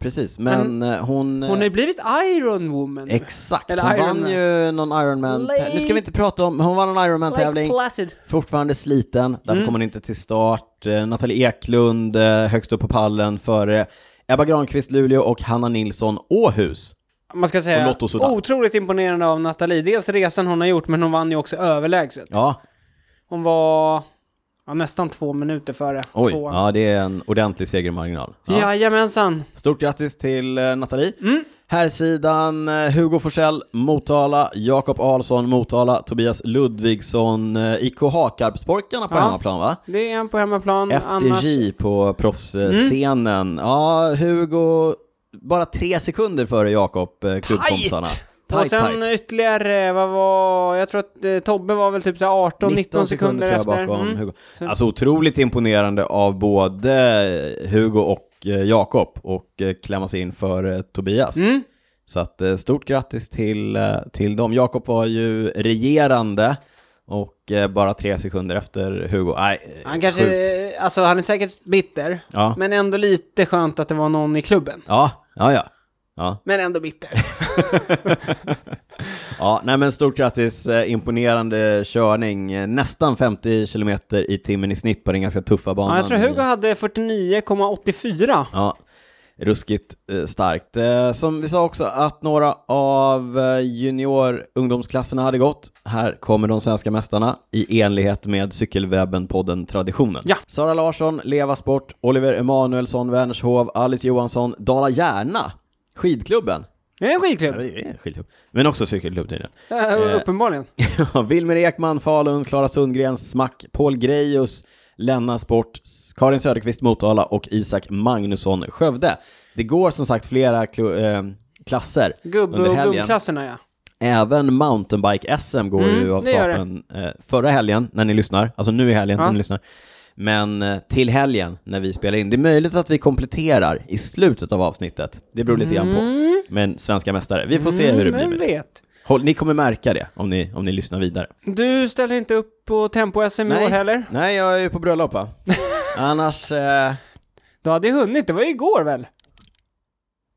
[SPEAKER 1] precis. Men, eh, hon... eh,
[SPEAKER 2] Hon har ju blivit Iron Woman.
[SPEAKER 1] Exakt,
[SPEAKER 2] Eller
[SPEAKER 1] hon
[SPEAKER 2] Iron
[SPEAKER 1] vann
[SPEAKER 2] Man.
[SPEAKER 1] ju någon Ironman...
[SPEAKER 2] Lake-
[SPEAKER 1] Nu ska vi inte prata om... Hon vann en
[SPEAKER 2] Like Mm.
[SPEAKER 1] Ironman-tävling.
[SPEAKER 2] Placid.
[SPEAKER 1] Fortfarande sliten, därför kommer hon inte till start. Eh, Nathalie Eklund eh, högst upp på pallen före Ebba Granqvist, Luleå och Hanna Nilsson, Åhus.
[SPEAKER 2] Man ska
[SPEAKER 1] Och
[SPEAKER 2] säga
[SPEAKER 1] Lotto Soudal.
[SPEAKER 2] otroligt imponerande av Nathalie. Dels resan hon har gjort, men hon vann ju också överlägset.
[SPEAKER 1] Ja,
[SPEAKER 2] Hon var ja, nästan två minuter före.
[SPEAKER 1] oj.
[SPEAKER 2] Två.
[SPEAKER 1] Ja, det är en ordentlig segermarginal. Ja.
[SPEAKER 2] Jajamensan.
[SPEAKER 1] Stort grattis till eh, Nathalie.
[SPEAKER 2] Mm.
[SPEAKER 1] Här sidan eh, Hugo Forsell, Motala, Jakob Ahlsson, Motala, Tobias Ludvigsson, eh, IK Hakarpsborkarna på
[SPEAKER 2] Ja.
[SPEAKER 1] hemmaplan va?
[SPEAKER 2] Det är en på hemmaplan. Annars... Mm.
[SPEAKER 1] FDJ på proffsscenen. Ja, Hugo, bara tre sekunder före Jakob, eh, klubbkompisarna.
[SPEAKER 2] Tajt!
[SPEAKER 1] Tajt,
[SPEAKER 2] och sen
[SPEAKER 1] tajt.
[SPEAKER 2] ytterligare, vad var, jag tror att eh, Tobbe var väl typ 18-19 sekunder,
[SPEAKER 1] tror jag
[SPEAKER 2] efter.
[SPEAKER 1] bakom
[SPEAKER 2] Mm.
[SPEAKER 1] Hugo.
[SPEAKER 2] Så-
[SPEAKER 1] Alltså otroligt imponerande av både Hugo och eh, Jakob och eh, klämma sig in för eh, Tobias.
[SPEAKER 2] Mm.
[SPEAKER 1] Så att eh, stort grattis till, eh, till dem. Jakob var ju regerande och eh, bara tre sekunder efter Hugo. Nej, eh,
[SPEAKER 2] Han kanske,
[SPEAKER 1] sjukt.
[SPEAKER 2] alltså han är säkert bitter,
[SPEAKER 1] Ja.
[SPEAKER 2] men ändå lite skönt att det var någon i klubben.
[SPEAKER 1] Ja, ja, ja. Ja,
[SPEAKER 2] Men ändå bitter.
[SPEAKER 1] ja nej men stort grattis. Eh, Imponerande körning. Eh, Nästan 50 kilometer i timmen i snitt på den ganska tuffa banan.
[SPEAKER 2] Ja, jag tror Hugo hade 49,84.
[SPEAKER 1] Ja, ruskigt eh, starkt. Eh, Som vi sa också att några av eh, junior-ungdomsklasserna hade gått. Här kommer de svenska mästarna i enlighet med cykelwebben-podden Traditionen.
[SPEAKER 2] Ja.
[SPEAKER 1] Sara Larsson, Leva Sport, Oliver Emanuelsson, Vänershov, Alice Johansson, Dala Järna, skidklubben.
[SPEAKER 2] Det är en
[SPEAKER 1] Ja, Eh,
[SPEAKER 2] skidklubb,
[SPEAKER 1] det är en skidklubb. Men också cykelklubb tydligen.
[SPEAKER 2] äh, uppenbarligen.
[SPEAKER 1] Ja, Wilmer Ekman, Falun, Klara Sundgren, Smack, Paul Grejus, Lenna Sport, Karin Söderqvist, Motala och Isak Magnusson, Skövde. Det går som sagt flera klu- eh, klasser
[SPEAKER 2] Gubbe
[SPEAKER 1] under
[SPEAKER 2] och
[SPEAKER 1] helgen.
[SPEAKER 2] gubbklasserna ja.
[SPEAKER 1] Även mountainbike-SM går
[SPEAKER 2] Mm,
[SPEAKER 1] ju av
[SPEAKER 2] det gör det.
[SPEAKER 1] stapeln eh, förra helgen när ni lyssnar, alltså nu i helgen
[SPEAKER 2] Ja.
[SPEAKER 1] när ni lyssnar. Men eh, till helgen när vi spelar in. Det är möjligt att vi kompletterar i slutet av avsnittet. Det beror lite grann
[SPEAKER 2] Mm.
[SPEAKER 1] på. Men svenska mästare, vi får se hur det blir.
[SPEAKER 2] Vem
[SPEAKER 1] med det.
[SPEAKER 2] vet?
[SPEAKER 1] Håll, ni kommer märka det om ni, om ni lyssnar vidare.
[SPEAKER 2] Du ställer inte upp på tempo-SM i år heller?
[SPEAKER 1] Nej, jag är ju på bröllop va? Annars... Eh,
[SPEAKER 2] Du hade ju hunnit, det var ju igår väl?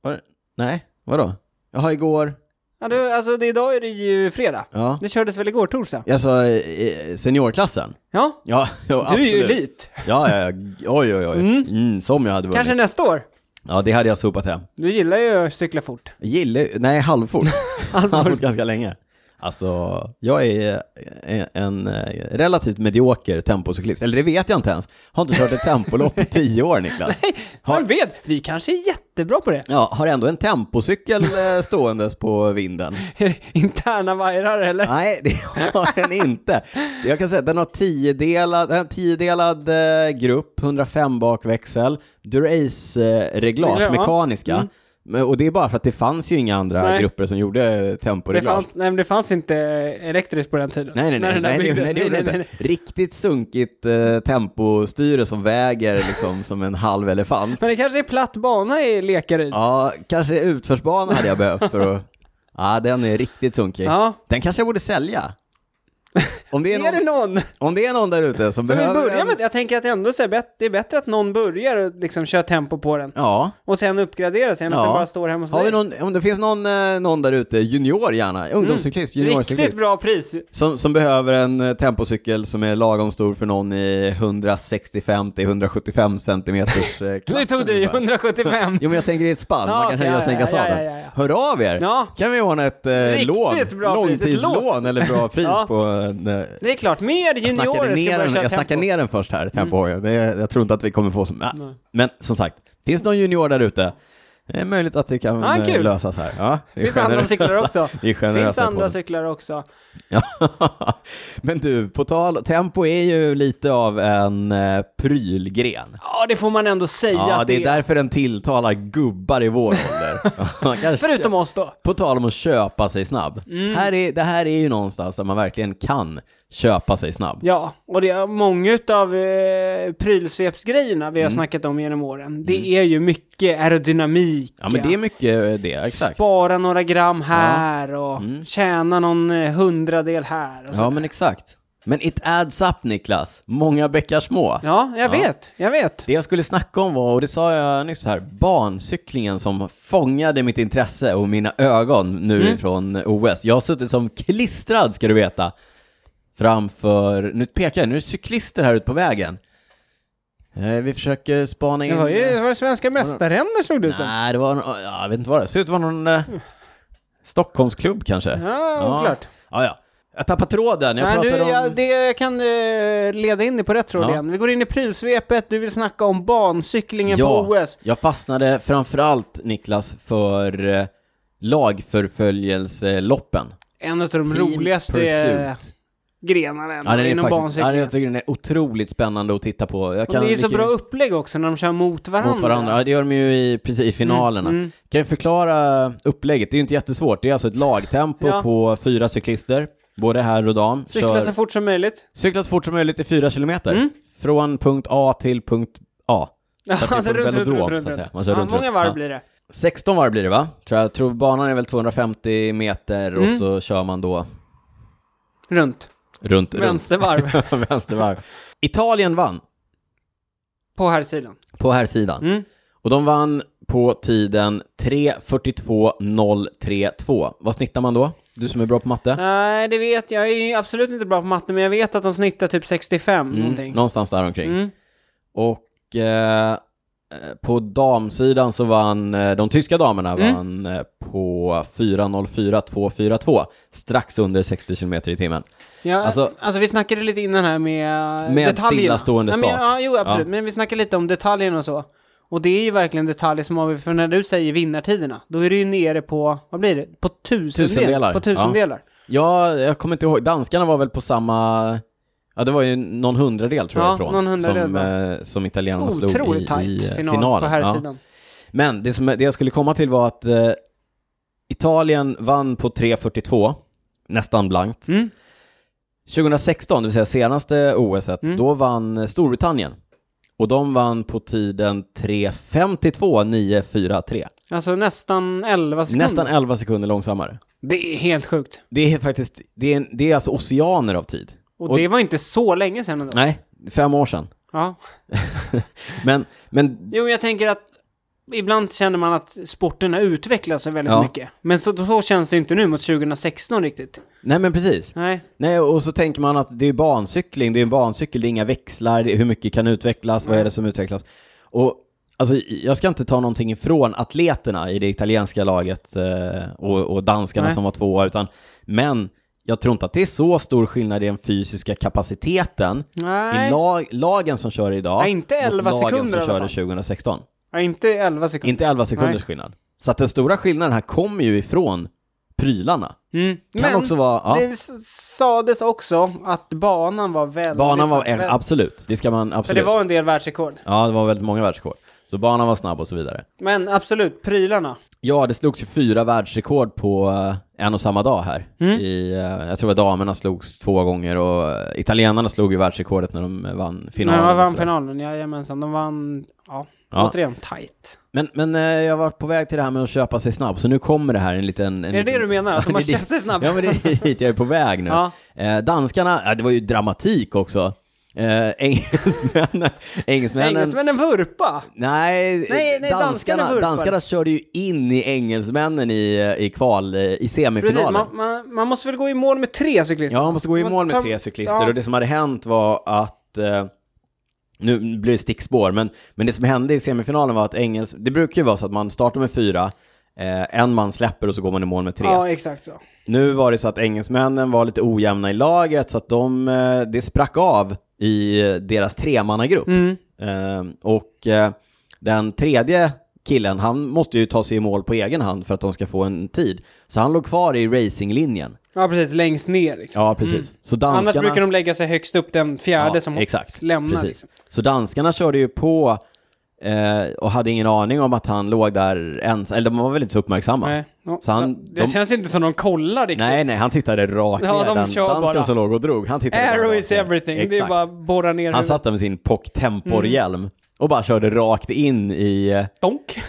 [SPEAKER 1] var det? Nej, vadå? Jaha, igår...
[SPEAKER 2] Ja, du, alltså det, idag är det ju fredag.
[SPEAKER 1] Ja.
[SPEAKER 2] Det kördes väl igår torsdag?
[SPEAKER 1] Jag sa eh, seniorklassen.
[SPEAKER 2] Ja,
[SPEAKER 1] Ja, jo,
[SPEAKER 2] du är
[SPEAKER 1] absolut.
[SPEAKER 2] ju elit.
[SPEAKER 1] Ja, ja, ja. Oj, oj, oj. Mm. som jag hade vunnit.
[SPEAKER 2] Kanske nästa år?
[SPEAKER 1] Ja, det hade jag sopat hem.
[SPEAKER 2] Du gillar ju att cykla fort.
[SPEAKER 1] Gillar ju- Nej, halvfort. halvfort ganska länge. Alltså, jag är eh, en eh, relativt medioker tempocyklist. Eller det vet jag inte ens. Har inte kört ett tempolopp i tio år, Niklas. Har-
[SPEAKER 2] Har... vet, vi kanske är jättebra på det.
[SPEAKER 1] Ja, har ändå en tempocykel eh, ståendes på vinden.
[SPEAKER 2] Interna vajrar eller?
[SPEAKER 1] Nej, det har den inte. Jag kan säga att den har tiodelad, den har tiodelad eh, grupp, 105 bakväxel, Durace-reglage,
[SPEAKER 2] Ja. Mm.
[SPEAKER 1] mekaniska. Men, och det är bara för att det fanns ju inga andra
[SPEAKER 2] Nej.
[SPEAKER 1] grupper som gjorde eh,
[SPEAKER 2] Det,
[SPEAKER 1] temporeglage.
[SPEAKER 2] fanns, nej, men det fanns inte elektriskt på den tiden.
[SPEAKER 1] Nej, nej,
[SPEAKER 2] När
[SPEAKER 1] nej,
[SPEAKER 2] den där
[SPEAKER 1] nej, det-
[SPEAKER 2] byggdes.
[SPEAKER 1] nej, det gjorde det
[SPEAKER 2] nej,
[SPEAKER 1] inte. Riktigt sunkigt eh, tempostyre som väger liksom som en halv elefant.
[SPEAKER 2] Men det kanske är platt bana i Lekaryd.
[SPEAKER 1] Ja, kanske utförsbana hade jag behövt för att... Ja, den är riktigt sunkig.
[SPEAKER 2] Ja.
[SPEAKER 1] Den kanske jag borde sälja. Om det är,
[SPEAKER 2] Är
[SPEAKER 1] någon,
[SPEAKER 2] det någon
[SPEAKER 1] om det är någon där ute som,
[SPEAKER 2] som vill
[SPEAKER 1] behöver
[SPEAKER 2] börja
[SPEAKER 1] en...
[SPEAKER 2] med Jag tänker att ändå så är bett- det är bättre att någon börjar och liksom kör tempo på den.
[SPEAKER 1] Ja.
[SPEAKER 2] Och sen uppgraderar sig än
[SPEAKER 1] Ja.
[SPEAKER 2] att den bara står hemma hos
[SPEAKER 1] Har vi
[SPEAKER 2] dig.
[SPEAKER 1] någon, om det finns någon, eh, någon där ute, junior gärna, ungdomscyklist, juniorcyklist,
[SPEAKER 2] Mm. Riktigt bra pris.
[SPEAKER 1] som, som behöver en eh, tempocykel som är lagom stor för någon i 165 till 175 centimeters eh, klassen.
[SPEAKER 2] Nu tog du ju
[SPEAKER 1] ungefär.
[SPEAKER 2] 175.
[SPEAKER 1] Jo men jag tänker i ett spann,
[SPEAKER 2] Ja,
[SPEAKER 1] man kan
[SPEAKER 2] okej,
[SPEAKER 1] höja och
[SPEAKER 2] ja,
[SPEAKER 1] sänka
[SPEAKER 2] ja, ja,
[SPEAKER 1] sadeln.
[SPEAKER 2] ja, ja, ja.
[SPEAKER 1] Hör av er!
[SPEAKER 2] Ja.
[SPEAKER 1] Kan vi ordna ett eh,
[SPEAKER 2] Riktigt
[SPEAKER 1] lån,
[SPEAKER 2] bra pris, ett lån.
[SPEAKER 1] långtidslån eller bra pris
[SPEAKER 2] Ja.
[SPEAKER 1] på en, eh,
[SPEAKER 2] Det är klart, mer
[SPEAKER 1] jag snackade,
[SPEAKER 2] juniorer
[SPEAKER 1] ner
[SPEAKER 2] ska
[SPEAKER 1] den,
[SPEAKER 2] börja köra
[SPEAKER 1] jag
[SPEAKER 2] tempo. Mm.
[SPEAKER 1] snackade ner den först här, Tempo Hoyo. Det, jag tror inte att vi kommer få som... Äh.
[SPEAKER 2] Nej.
[SPEAKER 1] Men som sagt, finns någon junior där ute? Det är möjligt att det kan
[SPEAKER 2] Ja,
[SPEAKER 1] eh,
[SPEAKER 2] kul.
[SPEAKER 1] lösas här. Ja,
[SPEAKER 2] Det finns andra cyklar också.
[SPEAKER 1] Vi är generösa
[SPEAKER 2] finns
[SPEAKER 1] på
[SPEAKER 2] andra
[SPEAKER 1] det.
[SPEAKER 2] cyklar också.
[SPEAKER 1] Ja. Men du, på tal... Tempo är ju lite av en eh, prylgren.
[SPEAKER 2] Ja, det får man ändå säga
[SPEAKER 1] Ja,
[SPEAKER 2] att
[SPEAKER 1] det är därför den tilltalar gubbar i vår ålder. Ja, kanske-
[SPEAKER 2] Förutom Mm. oss då.
[SPEAKER 1] På tal om att köpa sig snabb. Här är, det här är ju någonstans där man verkligen kan köpa sig snabb.
[SPEAKER 2] Ja, och det är många av eh, prylsvepsgrejerna vi har
[SPEAKER 1] Mm.
[SPEAKER 2] snackat om genom åren. Det är ju mycket aerodynamik.
[SPEAKER 1] Ja, men det är mycket eh, det, exakt.
[SPEAKER 2] Spara några gram här och
[SPEAKER 1] Mm.
[SPEAKER 2] tjäna någon eh, hundradel här. Och
[SPEAKER 1] Ja,
[SPEAKER 2] sådär.
[SPEAKER 1] men exakt. Men it adds up, Niklas. Många bäckar små.
[SPEAKER 2] ja, jag
[SPEAKER 1] Ja.
[SPEAKER 2] vet. Jag vet.
[SPEAKER 1] Det jag skulle snacka om var, och det sa jag nyss här, bancyklingen som fångade mitt intresse och mina ögon nu
[SPEAKER 2] Mm.
[SPEAKER 1] från OS. Jag har suttit som klistrad, ska du veta, framför, nu pekar jag, nu är det cyklister här ute på vägen. Eh, Vi försöker spana in...
[SPEAKER 2] Det var ju det var svenska mästaränder såg du ut som.
[SPEAKER 1] Nej, det var, nå- ja, jag vet inte vad det, ser ut att vara någon eh,
[SPEAKER 2] Mm.
[SPEAKER 1] Stockholmsklubb kanske.
[SPEAKER 2] Ja, oklart.
[SPEAKER 1] Ja, ja. Jag tappar tråden, jag
[SPEAKER 2] Mm. Nej, du,
[SPEAKER 1] pratade om...
[SPEAKER 2] jag, det, jag kan eh, leda in dig på rätt tråd
[SPEAKER 1] Ja.
[SPEAKER 2] igen. Vi går in i prylsvepet, du vill snacka om bancyklingen på OS.
[SPEAKER 1] jag fastnade framförallt Niklas för eh, lagförföljelseloppen.
[SPEAKER 2] En av de
[SPEAKER 1] Team
[SPEAKER 2] roligaste
[SPEAKER 1] Pursuit.
[SPEAKER 2] grenarna ändå,
[SPEAKER 1] Ja, den är
[SPEAKER 2] eh, inom
[SPEAKER 1] faktiskt, ja,
[SPEAKER 2] bancyklingen.
[SPEAKER 1] jag tycker den är otroligt spännande att titta på. Jag
[SPEAKER 2] och det är så
[SPEAKER 1] mycket-
[SPEAKER 2] bra upplägg också när de kör mot varandra.
[SPEAKER 1] mot varandra. Ja, det gör de ju i, precis i finalerna.
[SPEAKER 2] Mm, mm.
[SPEAKER 1] Kan jag förklara upplägget? Det är ju inte jättesvårt. Det är alltså ett lagtempo
[SPEAKER 2] Ja.
[SPEAKER 1] på fyra cyklister, både herr och dam.
[SPEAKER 2] Cykla
[SPEAKER 1] Kör-
[SPEAKER 2] så fort som möjligt.
[SPEAKER 1] Cykla så fort som möjligt i fyra kilometer.
[SPEAKER 2] Mm.
[SPEAKER 1] Från punkt A till punkt A.
[SPEAKER 2] Ja,
[SPEAKER 1] Så att det är
[SPEAKER 2] runt,
[SPEAKER 1] på
[SPEAKER 2] Alltså, runt,
[SPEAKER 1] velodrom,
[SPEAKER 2] runt,
[SPEAKER 1] så att
[SPEAKER 2] runt,
[SPEAKER 1] säga.
[SPEAKER 2] runt.
[SPEAKER 1] Man kör
[SPEAKER 2] ja,
[SPEAKER 1] runt,
[SPEAKER 2] många
[SPEAKER 1] runt.
[SPEAKER 2] varv
[SPEAKER 1] Ja.
[SPEAKER 2] blir det.
[SPEAKER 1] 16 varv blir det va? Tror jag, jag tror banan är väl 250 meter och
[SPEAKER 2] Mm.
[SPEAKER 1] så kör man då runt,
[SPEAKER 2] Runt.
[SPEAKER 1] runt.
[SPEAKER 2] Vänstervarv
[SPEAKER 1] Vänstervarv. Italien vann
[SPEAKER 2] på här sidan.
[SPEAKER 1] på här sidan.
[SPEAKER 2] Mm.
[SPEAKER 1] Och de vann på tiden 3.42.032. Vad snittar man då? Du som är bra på matte?
[SPEAKER 2] Nej, det vet jag. Jag är ju absolut inte bra på matte, men jag vet att de snittar typ 65
[SPEAKER 1] Mm,
[SPEAKER 2] någonting.
[SPEAKER 1] någonstans där omkring.
[SPEAKER 2] Mm.
[SPEAKER 1] Och eh, eh, på damsidan så vann eh, de tyska damerna
[SPEAKER 2] Mm.
[SPEAKER 1] vann eh, på 4.04.242. Strax under 60 km i timmen.
[SPEAKER 2] Ja, alltså,
[SPEAKER 1] Alltså-
[SPEAKER 2] vi snackade lite innan här med, eh,
[SPEAKER 1] Med
[SPEAKER 2] detaljerna.
[SPEAKER 1] stillastående
[SPEAKER 2] Nej, men,
[SPEAKER 1] start.
[SPEAKER 2] Ja, jo, absolut.
[SPEAKER 1] Ja.
[SPEAKER 2] Men vi snackade lite om detaljerna och så. Och det är ju verkligen detaljer som avgör, för när du säger vinnartiderna, då är du ju nere på, vad blir det? På tusendelar.
[SPEAKER 1] Tusendelar,
[SPEAKER 2] På tusendelar.
[SPEAKER 1] Ja, jag kommer inte ihåg. Danskarna var väl på samma... Ja, det var ju någon hundradel tror
[SPEAKER 2] Ja,
[SPEAKER 1] jag ifrån.
[SPEAKER 2] någon hundradel,
[SPEAKER 1] som,
[SPEAKER 2] va?
[SPEAKER 1] eh, som italienarna slog i,
[SPEAKER 2] Otroligt tajt
[SPEAKER 1] i eh,
[SPEAKER 2] final på
[SPEAKER 1] finalen.
[SPEAKER 2] här
[SPEAKER 1] Ja.
[SPEAKER 2] sidan.
[SPEAKER 1] Men det, som, det jag skulle komma till var att eh, Italien vann på 3.42, nästan blankt.
[SPEAKER 2] Mm.
[SPEAKER 1] 2016, det vill säga senaste OS,
[SPEAKER 2] Mm.
[SPEAKER 1] då vann eh, Storbritannien. Och de vann på tiden 3.52.943.
[SPEAKER 2] Alltså nästan 11 sekunder.
[SPEAKER 1] Nästan 11 sekunder långsammare.
[SPEAKER 2] Det är helt sjukt.
[SPEAKER 1] Det är faktiskt, det är, en- det är alltså oceaner av tid.
[SPEAKER 2] Och,
[SPEAKER 1] Och-
[SPEAKER 2] det var inte så länge sedan ändå.
[SPEAKER 1] Nej, fem år sedan.
[SPEAKER 2] Ja.
[SPEAKER 1] Men, men
[SPEAKER 2] Jo, jag tänker att ibland känner man att sporten har utvecklats så väldigt
[SPEAKER 1] Ja.
[SPEAKER 2] mycket. Men så, så känns det inte nu mot 2016 riktigt.
[SPEAKER 1] nej men precis.
[SPEAKER 2] Nej.
[SPEAKER 1] Nej, och så tänker man att det är bancykling, det är en bancykel, det är inga växlar, det är hur mycket kan utvecklas, vad är det som utvecklas? Och alltså, jag ska inte ta någonting ifrån atleterna i det italienska laget eh, och, och danskarna
[SPEAKER 2] Nej.
[SPEAKER 1] som var tvåa, utan men jag tror inte att det är så stor skillnad i den fysiska kapaciteten
[SPEAKER 2] Nej.
[SPEAKER 1] i lag, lagen som kör idag
[SPEAKER 2] Nej, inte
[SPEAKER 1] mot
[SPEAKER 2] 11
[SPEAKER 1] lagen
[SPEAKER 2] sekunder i alla
[SPEAKER 1] som körde
[SPEAKER 2] fall.
[SPEAKER 1] 2016.
[SPEAKER 2] Ja, inte 11 sekunder.
[SPEAKER 1] Inte 11 sekunders
[SPEAKER 2] Nej.
[SPEAKER 1] skillnad. Så att den stora skillnaden här kommer ju ifrån prylarna.
[SPEAKER 2] Mm.
[SPEAKER 1] Kan
[SPEAKER 2] Men
[SPEAKER 1] också vara... Ja.
[SPEAKER 2] det s- sades också att banan var väldigt...
[SPEAKER 1] Banan var,
[SPEAKER 2] väldigt-
[SPEAKER 1] absolut, det ska man
[SPEAKER 2] För
[SPEAKER 1] absolut.
[SPEAKER 2] det var en del världsrekord.
[SPEAKER 1] Ja, det var väldigt många världsrekord. Så banan var snabb och så vidare.
[SPEAKER 2] Men absolut, prylarna.
[SPEAKER 1] Ja, det slogs ju fyra världsrekord på eh, en och samma dag här.
[SPEAKER 2] Mm.
[SPEAKER 1] I, eh, jag tror att damerna slogs två gånger och eh, italienarna slog ju världsrekordet när de eh, vann finalen.
[SPEAKER 2] Finalen,
[SPEAKER 1] och
[SPEAKER 2] de vann
[SPEAKER 1] sådär.
[SPEAKER 2] finalen, jajamensan. De vann, ja,
[SPEAKER 1] Ja.
[SPEAKER 2] återigen tight.
[SPEAKER 1] Men, men eh, jag var på väg till det här med att köpa sig snabb, så nu kommer det här en liten... En
[SPEAKER 2] Är det det
[SPEAKER 1] liten...
[SPEAKER 2] du menar? Att de
[SPEAKER 1] Ja,
[SPEAKER 2] har
[SPEAKER 1] det är
[SPEAKER 2] köpt
[SPEAKER 1] dit-
[SPEAKER 2] sig snabbt?
[SPEAKER 1] Ja, men det är dit jag är på väg nu.
[SPEAKER 2] Ja.
[SPEAKER 1] Eh, danskarna, ja, det var ju dramatik också. Eh, engelsmännen, engelsmännen
[SPEAKER 2] Engelsmännen vurpa!
[SPEAKER 1] Nej,
[SPEAKER 2] Nej, nej, danskarna
[SPEAKER 1] danskarna,
[SPEAKER 2] vurpar.
[SPEAKER 1] danskarna körde ju in i engelsmännen i, eh, i kval, i
[SPEAKER 2] Precis,
[SPEAKER 1] semifinalen.
[SPEAKER 2] man, man, man måste väl gå i mål med tre cyklister?
[SPEAKER 1] Ja, man måste gå i
[SPEAKER 2] Man
[SPEAKER 1] mål med
[SPEAKER 2] tar-
[SPEAKER 1] tre cyklister
[SPEAKER 2] ja.
[SPEAKER 1] och det som hade hänt var att eh, nu blir det stickspår, men, men det som hände i semifinalen var att engels... Det brukar ju vara så att man startar med fyra, eh, en man släpper och så går man i mål med tre.
[SPEAKER 2] Ja, exakt så.
[SPEAKER 1] Nu var det så att engelsmännen var lite ojämna i laget, så att de, eh, det sprack av i eh, deras tremannagrupp.
[SPEAKER 2] Mm.
[SPEAKER 1] Eh, och eh, den tredje killen, han måste ju ta sig i mål på egen hand för att de ska få en tid. Så han låg kvar i racinglinjen.
[SPEAKER 2] Ja, precis. Längst ner liksom.
[SPEAKER 1] Ja, precis. Så danskarna...
[SPEAKER 2] Annars brukar de lägga sig högst upp den fjärde
[SPEAKER 1] Ja,
[SPEAKER 2] som
[SPEAKER 1] exakt.
[SPEAKER 2] lämnar.
[SPEAKER 1] Precis.
[SPEAKER 2] Liksom.
[SPEAKER 1] Så danskarna körde ju på eh, och hade ingen aning om att han låg där ensam. Eller de var väl inte så uppmärksamma. Nej,
[SPEAKER 2] Nej. Ja,
[SPEAKER 1] Så han-
[SPEAKER 2] det
[SPEAKER 1] de-
[SPEAKER 2] känns inte som de kollar riktigt.
[SPEAKER 1] nej, han tittade rakt
[SPEAKER 2] Ja,
[SPEAKER 1] ner.
[SPEAKER 2] de
[SPEAKER 1] Den
[SPEAKER 2] kör
[SPEAKER 1] dansken
[SPEAKER 2] bara.
[SPEAKER 1] som låg och drog, han tittade bara
[SPEAKER 2] Arrow
[SPEAKER 1] rakt
[SPEAKER 2] is
[SPEAKER 1] ner.
[SPEAKER 2] everything. Det är
[SPEAKER 1] Exakt.
[SPEAKER 2] bara Mm. att borra ner
[SPEAKER 1] Han
[SPEAKER 2] huvudet.
[SPEAKER 1] satt där med sin Poc Tempor-hjälm och bara körde rakt in i, eh,
[SPEAKER 2] Donk.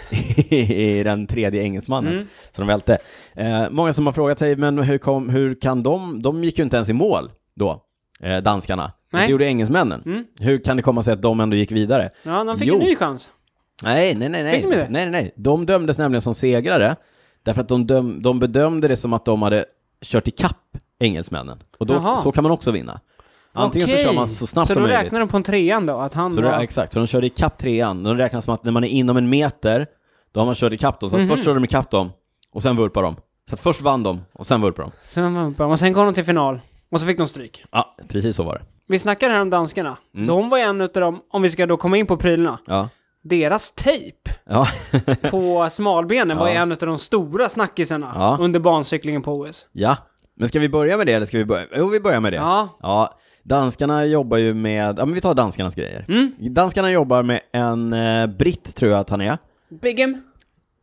[SPEAKER 1] i den tredje engelsmannen.
[SPEAKER 2] Mm.
[SPEAKER 1] Så de välte. Eh, många som har frågat sig, men hur, kom, hur kan de, de gick ju inte ens i mål då, eh, danskarna. Men
[SPEAKER 2] Nej. Mm.
[SPEAKER 1] Det gjorde engelsmännen. Hur kan det komma sig att de ändå gick vidare?
[SPEAKER 2] Ja, de fick
[SPEAKER 1] Jo.
[SPEAKER 2] en ny chans.
[SPEAKER 1] Nej, nej, nej, nej.
[SPEAKER 2] Fick de
[SPEAKER 1] nej,
[SPEAKER 2] det?
[SPEAKER 1] nej, nej. De dömdes nämligen som segrare, därför att de, döm, de bedömde det som att de hade kört ikapp engelsmännen. Och då,
[SPEAKER 2] Jaha.
[SPEAKER 1] så kan man också vinna. Antingen
[SPEAKER 2] Okej.
[SPEAKER 1] så kör man så snabbt
[SPEAKER 2] så
[SPEAKER 1] som
[SPEAKER 2] Så då
[SPEAKER 1] möjligt.
[SPEAKER 2] räknar de på en trean då? Att han
[SPEAKER 1] Så det,
[SPEAKER 2] var...
[SPEAKER 1] exakt, så de körde ikapp trean. De räknas som att när man är inom en meter, då har man kört ikapp dem. Så att
[SPEAKER 2] Mhm.
[SPEAKER 1] först körde de ikapp dem, och sen vurpade de. Så att först vann de, och sen vurpade de.
[SPEAKER 2] Sen var de uppe. Och sen kom de till final. Och så fick de stryk.
[SPEAKER 1] Ja, precis så var det.
[SPEAKER 2] Vi snackar här om danskarna.
[SPEAKER 1] Mm.
[SPEAKER 2] De var en utav dem, om vi ska då komma in på prylarna,
[SPEAKER 1] Ja.
[SPEAKER 2] deras tejp
[SPEAKER 1] Ja.
[SPEAKER 2] på smalbenen var
[SPEAKER 1] Ja.
[SPEAKER 2] en utav de stora snackisarna
[SPEAKER 1] Ja.
[SPEAKER 2] under bancyklingen på OS.
[SPEAKER 1] ja. Men ska vi börja med det, eller ska vi börja? Jo, vi börjar med det.
[SPEAKER 2] Ja.
[SPEAKER 1] Ja, danskarna jobbar ju med, ja men vi tar danskarnas grejer.
[SPEAKER 2] Mm.
[SPEAKER 1] Danskarna jobbar med en eh, britt, tror jag att han är.
[SPEAKER 2] Bigham.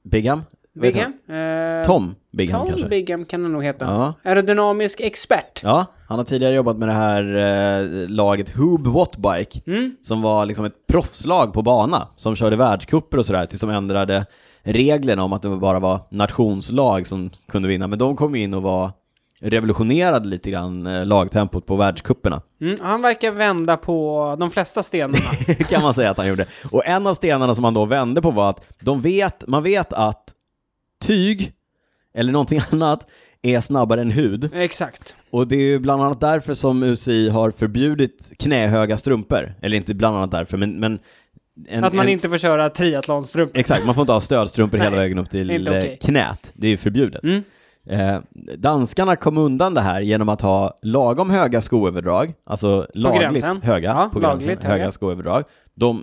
[SPEAKER 1] Bigham? Vad heter
[SPEAKER 2] Bigham. Eh,
[SPEAKER 1] han? Tom Bigham
[SPEAKER 2] Tom
[SPEAKER 1] kanske?
[SPEAKER 2] Bigham kan han nog heta.
[SPEAKER 1] Ja.
[SPEAKER 2] Aerodynamisk expert.
[SPEAKER 1] Ja, han har tidigare jobbat med det här eh, laget Hoob Wattbike,
[SPEAKER 2] Mm.
[SPEAKER 1] som var liksom ett proffslag på bana, som körde världscuper och sådär, tills de ändrade reglerna om att det bara var nationslag som kunde vinna. Men de kom ju in och var revolutionerade lite grann eh, lagtempot på världscuperna.
[SPEAKER 2] Mm, han verkar vända på de flesta stenarna.
[SPEAKER 1] kan man säga att han gjorde. Och en av stenarna som han då vände på var att de vet, man vet att tyg, eller någonting annat, är snabbare än hud.
[SPEAKER 2] Exakt.
[SPEAKER 1] Och det är ju bland annat därför som UCI har förbjudit knähöga strumpor. Eller inte bland annat därför, men... men en,
[SPEAKER 2] Att man
[SPEAKER 1] en,
[SPEAKER 2] inte får köra triathlonstrumpor.
[SPEAKER 1] Exakt, man får inte ha stödstrumpor hela
[SPEAKER 2] Nej,
[SPEAKER 1] vägen upp till
[SPEAKER 2] inte
[SPEAKER 1] eh,
[SPEAKER 2] okej. Mm.
[SPEAKER 1] knät. Det är ju förbjudet. Eh, danskarna kom undan det här genom att ha lagom höga skoöverdrag, alltså lagligt
[SPEAKER 2] gränsen.
[SPEAKER 1] höga,
[SPEAKER 2] Ja,
[SPEAKER 1] på gränsen,
[SPEAKER 2] lagligt
[SPEAKER 1] höga
[SPEAKER 2] höga. Mm.
[SPEAKER 1] skoöverdrag. De,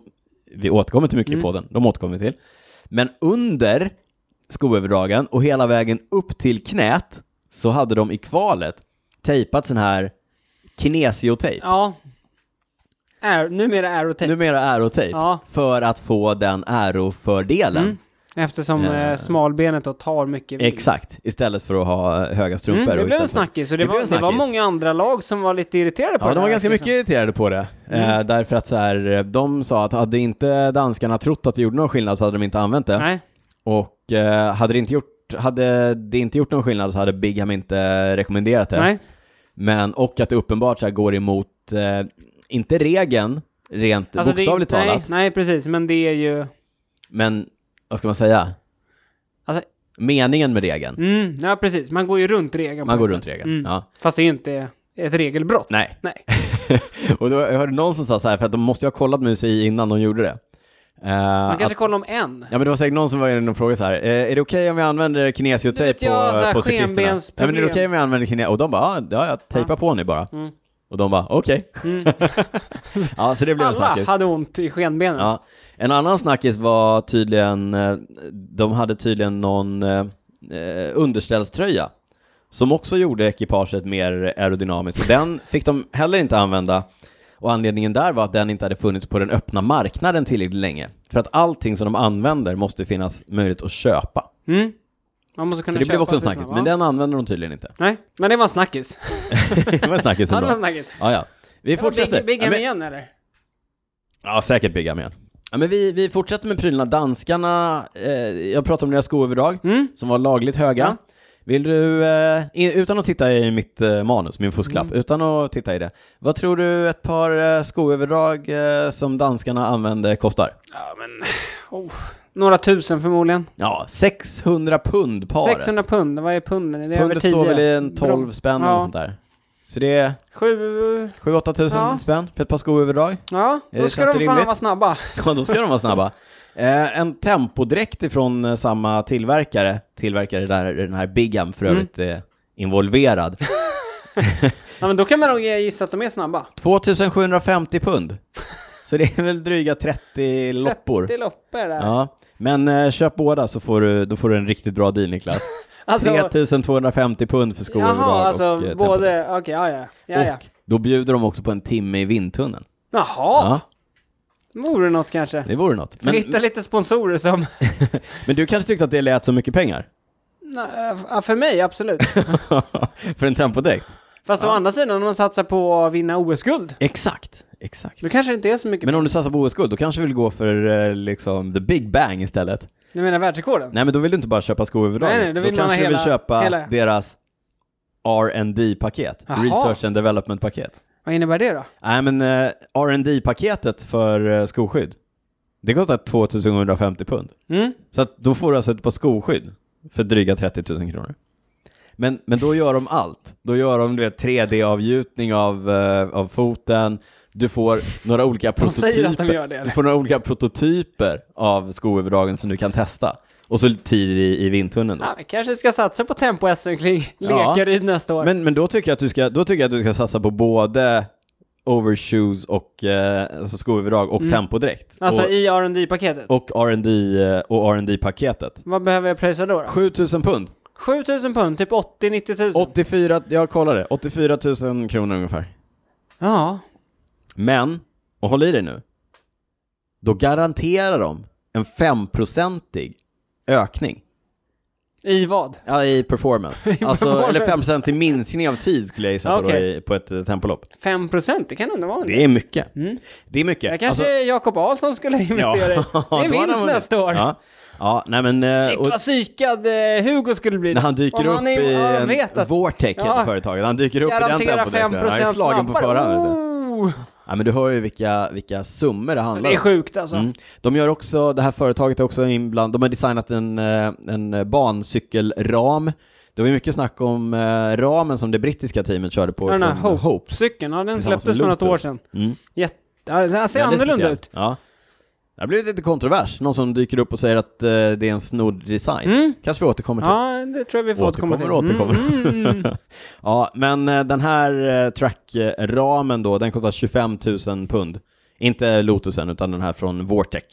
[SPEAKER 1] vi återkommer till mycket i podden, de återkommer vi till. Men under skoöverdragen och hela vägen upp till knät så hade de i kvalet tejpat sån här kinesiotejp.
[SPEAKER 2] Ja. Aer- numera aerotejp.
[SPEAKER 1] Numera aerotejp,
[SPEAKER 2] Ja. Mm.
[SPEAKER 1] för att få den aerofördelen.
[SPEAKER 2] Eftersom
[SPEAKER 1] Eh.
[SPEAKER 2] eh, smalbenet då tar mycket vikt.
[SPEAKER 1] Exakt, istället för att ha eh, höga strumpor.
[SPEAKER 2] Mm, det
[SPEAKER 1] och
[SPEAKER 2] blev en
[SPEAKER 1] istället för-
[SPEAKER 2] snackis och det,
[SPEAKER 1] Det
[SPEAKER 2] var,
[SPEAKER 1] blev en
[SPEAKER 2] det var
[SPEAKER 1] snackis.
[SPEAKER 2] många andra lag som var lite irriterade på
[SPEAKER 1] Ja,
[SPEAKER 2] det.
[SPEAKER 1] de var
[SPEAKER 2] här,
[SPEAKER 1] ganska
[SPEAKER 2] liksom. verkar
[SPEAKER 1] mycket
[SPEAKER 2] det
[SPEAKER 1] irriterade på det.
[SPEAKER 2] Mm.
[SPEAKER 1] Eh, därför att så här, eh, de sa att hade inte danskarna trott att det gjorde någon skillnad så hade de inte använt det.
[SPEAKER 2] som. Nej.
[SPEAKER 1] Och eh, hade, det inte gjort, hade det inte gjort någon skillnad så hade Bigham inte rekommenderat det.
[SPEAKER 2] Nej.
[SPEAKER 1] Men, och att det uppenbart så här går emot, eh, inte regeln, rent
[SPEAKER 2] Alltså, det-
[SPEAKER 1] bokstavligt
[SPEAKER 2] nej,
[SPEAKER 1] talat,
[SPEAKER 2] Nej, precis. Men det är ju...
[SPEAKER 1] men vad ska man säga?
[SPEAKER 2] Alltså-
[SPEAKER 1] Meningen med regeln.
[SPEAKER 2] Mm, ja, precis. Man går ju runt regeln.
[SPEAKER 1] Man
[SPEAKER 2] på
[SPEAKER 1] går
[SPEAKER 2] ett
[SPEAKER 1] runt
[SPEAKER 2] sätt.
[SPEAKER 1] regeln.
[SPEAKER 2] Mm.
[SPEAKER 1] Ja.
[SPEAKER 2] Fast det är ju inte ett regelbrott.
[SPEAKER 1] Nej.
[SPEAKER 2] Nej.
[SPEAKER 1] och då, jag hörde någon som sa så här, för att de måste ju ha kollat med UCI innan de gjorde det. Eh,
[SPEAKER 2] Man
[SPEAKER 1] att-
[SPEAKER 2] kanske kollar om en.
[SPEAKER 1] Ja men det var säkert någon som var inne och frågade så här, eh, är det okej om vi använder
[SPEAKER 2] Du
[SPEAKER 1] kinesiotejp
[SPEAKER 2] vet, jag har så
[SPEAKER 1] på,
[SPEAKER 2] här
[SPEAKER 1] på cyklisterna? Ja men är det
[SPEAKER 2] skenbensproblem.
[SPEAKER 1] okej om vi använder kines... Och de bara, ah, ja jag tejpar på nu bara.
[SPEAKER 2] Mm.
[SPEAKER 1] Och de bara, okej. ja så det blev en
[SPEAKER 2] Alla
[SPEAKER 1] snackis.
[SPEAKER 2] hade ont i skenbenen.
[SPEAKER 1] Ja. En annan snackis var tydligen, eh, de hade tydligen någon eh, eh, underställströja. Som också gjorde ekipaget mer aerodynamiskt. Och den fick de heller inte använda. Och anledningen där var att den inte hade funnits på den öppna marknaden tillräckligt länge. För att allting som de använder måste finnas möjlighet att köpa.
[SPEAKER 2] Mm. Man måste kunna
[SPEAKER 1] Så det blev
[SPEAKER 2] köpa
[SPEAKER 1] också en
[SPEAKER 2] sig
[SPEAKER 1] snackis,
[SPEAKER 2] såna,
[SPEAKER 1] men
[SPEAKER 2] va?
[SPEAKER 1] den använder de tydligen inte.
[SPEAKER 2] Nej, men det var en snackis.
[SPEAKER 1] Det var en snackis
[SPEAKER 2] Ja, det var en
[SPEAKER 1] ändå.
[SPEAKER 2] snackis.
[SPEAKER 1] Ja, ja. Vi fortsätter.
[SPEAKER 2] Big, big
[SPEAKER 1] ja, men,
[SPEAKER 2] igen eller?
[SPEAKER 1] ja, säkert Bigham igen. Ja, men vi, vi fortsätter med prylarna. Danskarna, eh, jag pratade om deras skoöverdrag,
[SPEAKER 2] Mm.
[SPEAKER 1] som var lagligt höga.
[SPEAKER 2] Ja.
[SPEAKER 1] Vill du, eh, i- utan att titta i mitt eh, manus, min fusklapp, utan att titta i det. Vad tror du ett par eh, skoöverdrag eh, som danskarna använde kostar?
[SPEAKER 2] Ja, men... Oh. Några tusen förmodligen.
[SPEAKER 1] Ja, 600 pund paret.
[SPEAKER 2] 600 pund, vad är punden? Det är över
[SPEAKER 1] Pundet
[SPEAKER 2] 10.
[SPEAKER 1] står väl i en 12 spänn eller
[SPEAKER 2] Ja.
[SPEAKER 1] sånt där. Så det är
[SPEAKER 2] Sju...
[SPEAKER 1] 7-8 tusen
[SPEAKER 2] Ja.
[SPEAKER 1] spänn för ett par skoöverdrag.
[SPEAKER 2] Ja,
[SPEAKER 1] det-
[SPEAKER 2] då ska
[SPEAKER 1] känns
[SPEAKER 2] de
[SPEAKER 1] det
[SPEAKER 2] fan
[SPEAKER 1] rimligt?
[SPEAKER 2] vara snabba.
[SPEAKER 1] Ja, då ska de vara snabba. Eh, en tempodräkt ifrån eh, samma tillverkare, tillverkare där den här Bigham
[SPEAKER 2] Mm.
[SPEAKER 1] för övrigt är involverad.
[SPEAKER 2] Ja, men då kan man nog gissa att de är snabba.
[SPEAKER 1] 2750 pund. Så det är väl dryga 30 loppor.
[SPEAKER 2] 30 loppor där.
[SPEAKER 1] Ja. Men eh, köp båda så får du, då får du en riktigt bra deal Niklas.
[SPEAKER 2] alltså,
[SPEAKER 1] 3250 pund för skor
[SPEAKER 2] Jaha, alltså
[SPEAKER 1] och eh, tempodräkt.
[SPEAKER 2] både... Okej, ja, ja. ja, ja.
[SPEAKER 1] Och då bjuder de också på en timme i vindtunneln.
[SPEAKER 2] Jaha! Vore något kanske.
[SPEAKER 1] Det vore något. Men,
[SPEAKER 2] Hitta lite sponsorer som...
[SPEAKER 1] men du kanske tyckte att det lät så mycket pengar?
[SPEAKER 2] Nej, ja, för mig, absolut.
[SPEAKER 1] För en tempodräkt?
[SPEAKER 2] Fast å andra sidan, om man satsar på att vinna OS-guld,
[SPEAKER 1] Exakt, exakt.
[SPEAKER 2] då kanske det inte är så mycket.
[SPEAKER 1] Men om du satsar på OS-guld, då kanske du vill gå för eh, liksom the big bang istället?
[SPEAKER 2] Du menar världsrekorden?
[SPEAKER 1] Nej men då vill du inte bara köpa skor överlag.
[SPEAKER 2] Nej, nej, då vill man
[SPEAKER 1] kanske
[SPEAKER 2] ha
[SPEAKER 1] du vill
[SPEAKER 2] hela-
[SPEAKER 1] köpa
[SPEAKER 2] hela.
[SPEAKER 1] deras rd paket
[SPEAKER 2] Jaha.
[SPEAKER 1] Research and Development-paket.
[SPEAKER 2] Vad innebär det då?
[SPEAKER 1] Nej men eh, rd paketet för eh, skoskydd, det kostar 2750 pund.
[SPEAKER 2] Mm?
[SPEAKER 1] Så att då får du alltså ett par skoskydd för dryga 30 000 kronor. Men, men då gör de allt. Då gör de du vet, 3D-avgjutning av, eh, av foten, du får några olika
[SPEAKER 2] De säger att de
[SPEAKER 1] prototyper.
[SPEAKER 2] gör det.
[SPEAKER 1] Du
[SPEAKER 2] eller?
[SPEAKER 1] får några olika prototyper av skoöverdragen som du kan testa. Och så tid i, i vindtunneln då.
[SPEAKER 2] Ja, vi kanske ska satsa på tempo-SM kring
[SPEAKER 1] Ja.
[SPEAKER 2] Lekaryd nästa år.
[SPEAKER 1] Men, men då, tycker jag att du ska, då tycker jag att du ska satsa på både overshoes och eh, alltså skoöverdrag och tempodräkt.
[SPEAKER 2] alltså
[SPEAKER 1] och,
[SPEAKER 2] i rd paketet
[SPEAKER 1] och R&D eh, och rd paketet
[SPEAKER 2] Vad behöver jag pröjsa då? då?
[SPEAKER 1] 7000 pund.
[SPEAKER 2] 7000 pund, typ 80-90 000.
[SPEAKER 1] 84, jag kollade, 84 000 kronor ungefär.
[SPEAKER 2] Ja.
[SPEAKER 1] Men, och håll i dig nu, då garanterar de en 5-procentig ökning
[SPEAKER 2] I vad?
[SPEAKER 1] ja, i performance. alltså,
[SPEAKER 2] performance.
[SPEAKER 1] Eller 5% i minskning av tid skulle jag gissa på, då,
[SPEAKER 2] Okej.
[SPEAKER 1] i, på ett eh, tempolopp.
[SPEAKER 2] 5 procent? Det kan ändå vara en del.
[SPEAKER 1] Det är mycket.
[SPEAKER 2] Mm.
[SPEAKER 1] Det är mycket. Alltså,
[SPEAKER 2] Jag kanske Jakob Ahlsson skulle
[SPEAKER 1] Ja.
[SPEAKER 2] investera i.
[SPEAKER 1] Ja,
[SPEAKER 2] Det
[SPEAKER 1] då hade
[SPEAKER 2] vinst
[SPEAKER 1] man-
[SPEAKER 2] nästa år.
[SPEAKER 1] Ja, ja nej men... eh,
[SPEAKER 2] Shit
[SPEAKER 1] och
[SPEAKER 2] vad psykad eh, Hugo skulle bli.
[SPEAKER 1] när han dyker
[SPEAKER 2] Om
[SPEAKER 1] upp
[SPEAKER 2] han är-
[SPEAKER 1] i
[SPEAKER 2] ja,
[SPEAKER 1] en
[SPEAKER 2] vet att-
[SPEAKER 1] Vortec heter
[SPEAKER 2] Ja.
[SPEAKER 1] företaget, han dyker upp i den
[SPEAKER 2] Garantera 5
[SPEAKER 1] tempodräkten. Han är
[SPEAKER 2] procent
[SPEAKER 1] slagen på
[SPEAKER 2] snabbare.
[SPEAKER 1] förhand. vet du.
[SPEAKER 2] Oh.
[SPEAKER 1] Ja, men du hör ju vilka, vilka summor det handlar
[SPEAKER 2] Det är
[SPEAKER 1] om.
[SPEAKER 2] sjukt alltså.
[SPEAKER 1] Mm. De gör också, det här företaget är också inbland, de har designat en, eh, en bancykelram. Det var ju mycket snack om eh, ramen som det brittiska teamet körde på
[SPEAKER 2] Den här
[SPEAKER 1] från
[SPEAKER 2] Hope.
[SPEAKER 1] Hopes.
[SPEAKER 2] Cykeln, ja, den
[SPEAKER 1] Tillsammans
[SPEAKER 2] släpptes
[SPEAKER 1] med
[SPEAKER 2] för något år
[SPEAKER 1] Lotus.
[SPEAKER 2] sedan.
[SPEAKER 1] Mm.
[SPEAKER 2] Jätte... Ja, den ser
[SPEAKER 1] Ja, det är
[SPEAKER 2] annorlunda
[SPEAKER 1] speciellt.
[SPEAKER 2] ut.
[SPEAKER 1] Ja. Det har blivit lite kontrovers, någon som dyker upp och säger att eh, det är en snodd design.
[SPEAKER 2] Mm.
[SPEAKER 1] Kanske vi återkommer till.
[SPEAKER 2] Ja, det tror jag vi får återkomma till.
[SPEAKER 1] Återkommer, återkommer.
[SPEAKER 2] Mm, mm, mm.
[SPEAKER 1] Ja, men eh, den här eh, trackramen då, den kostar 25 000 pund. Inte Lotusen, utan den här från Vortec.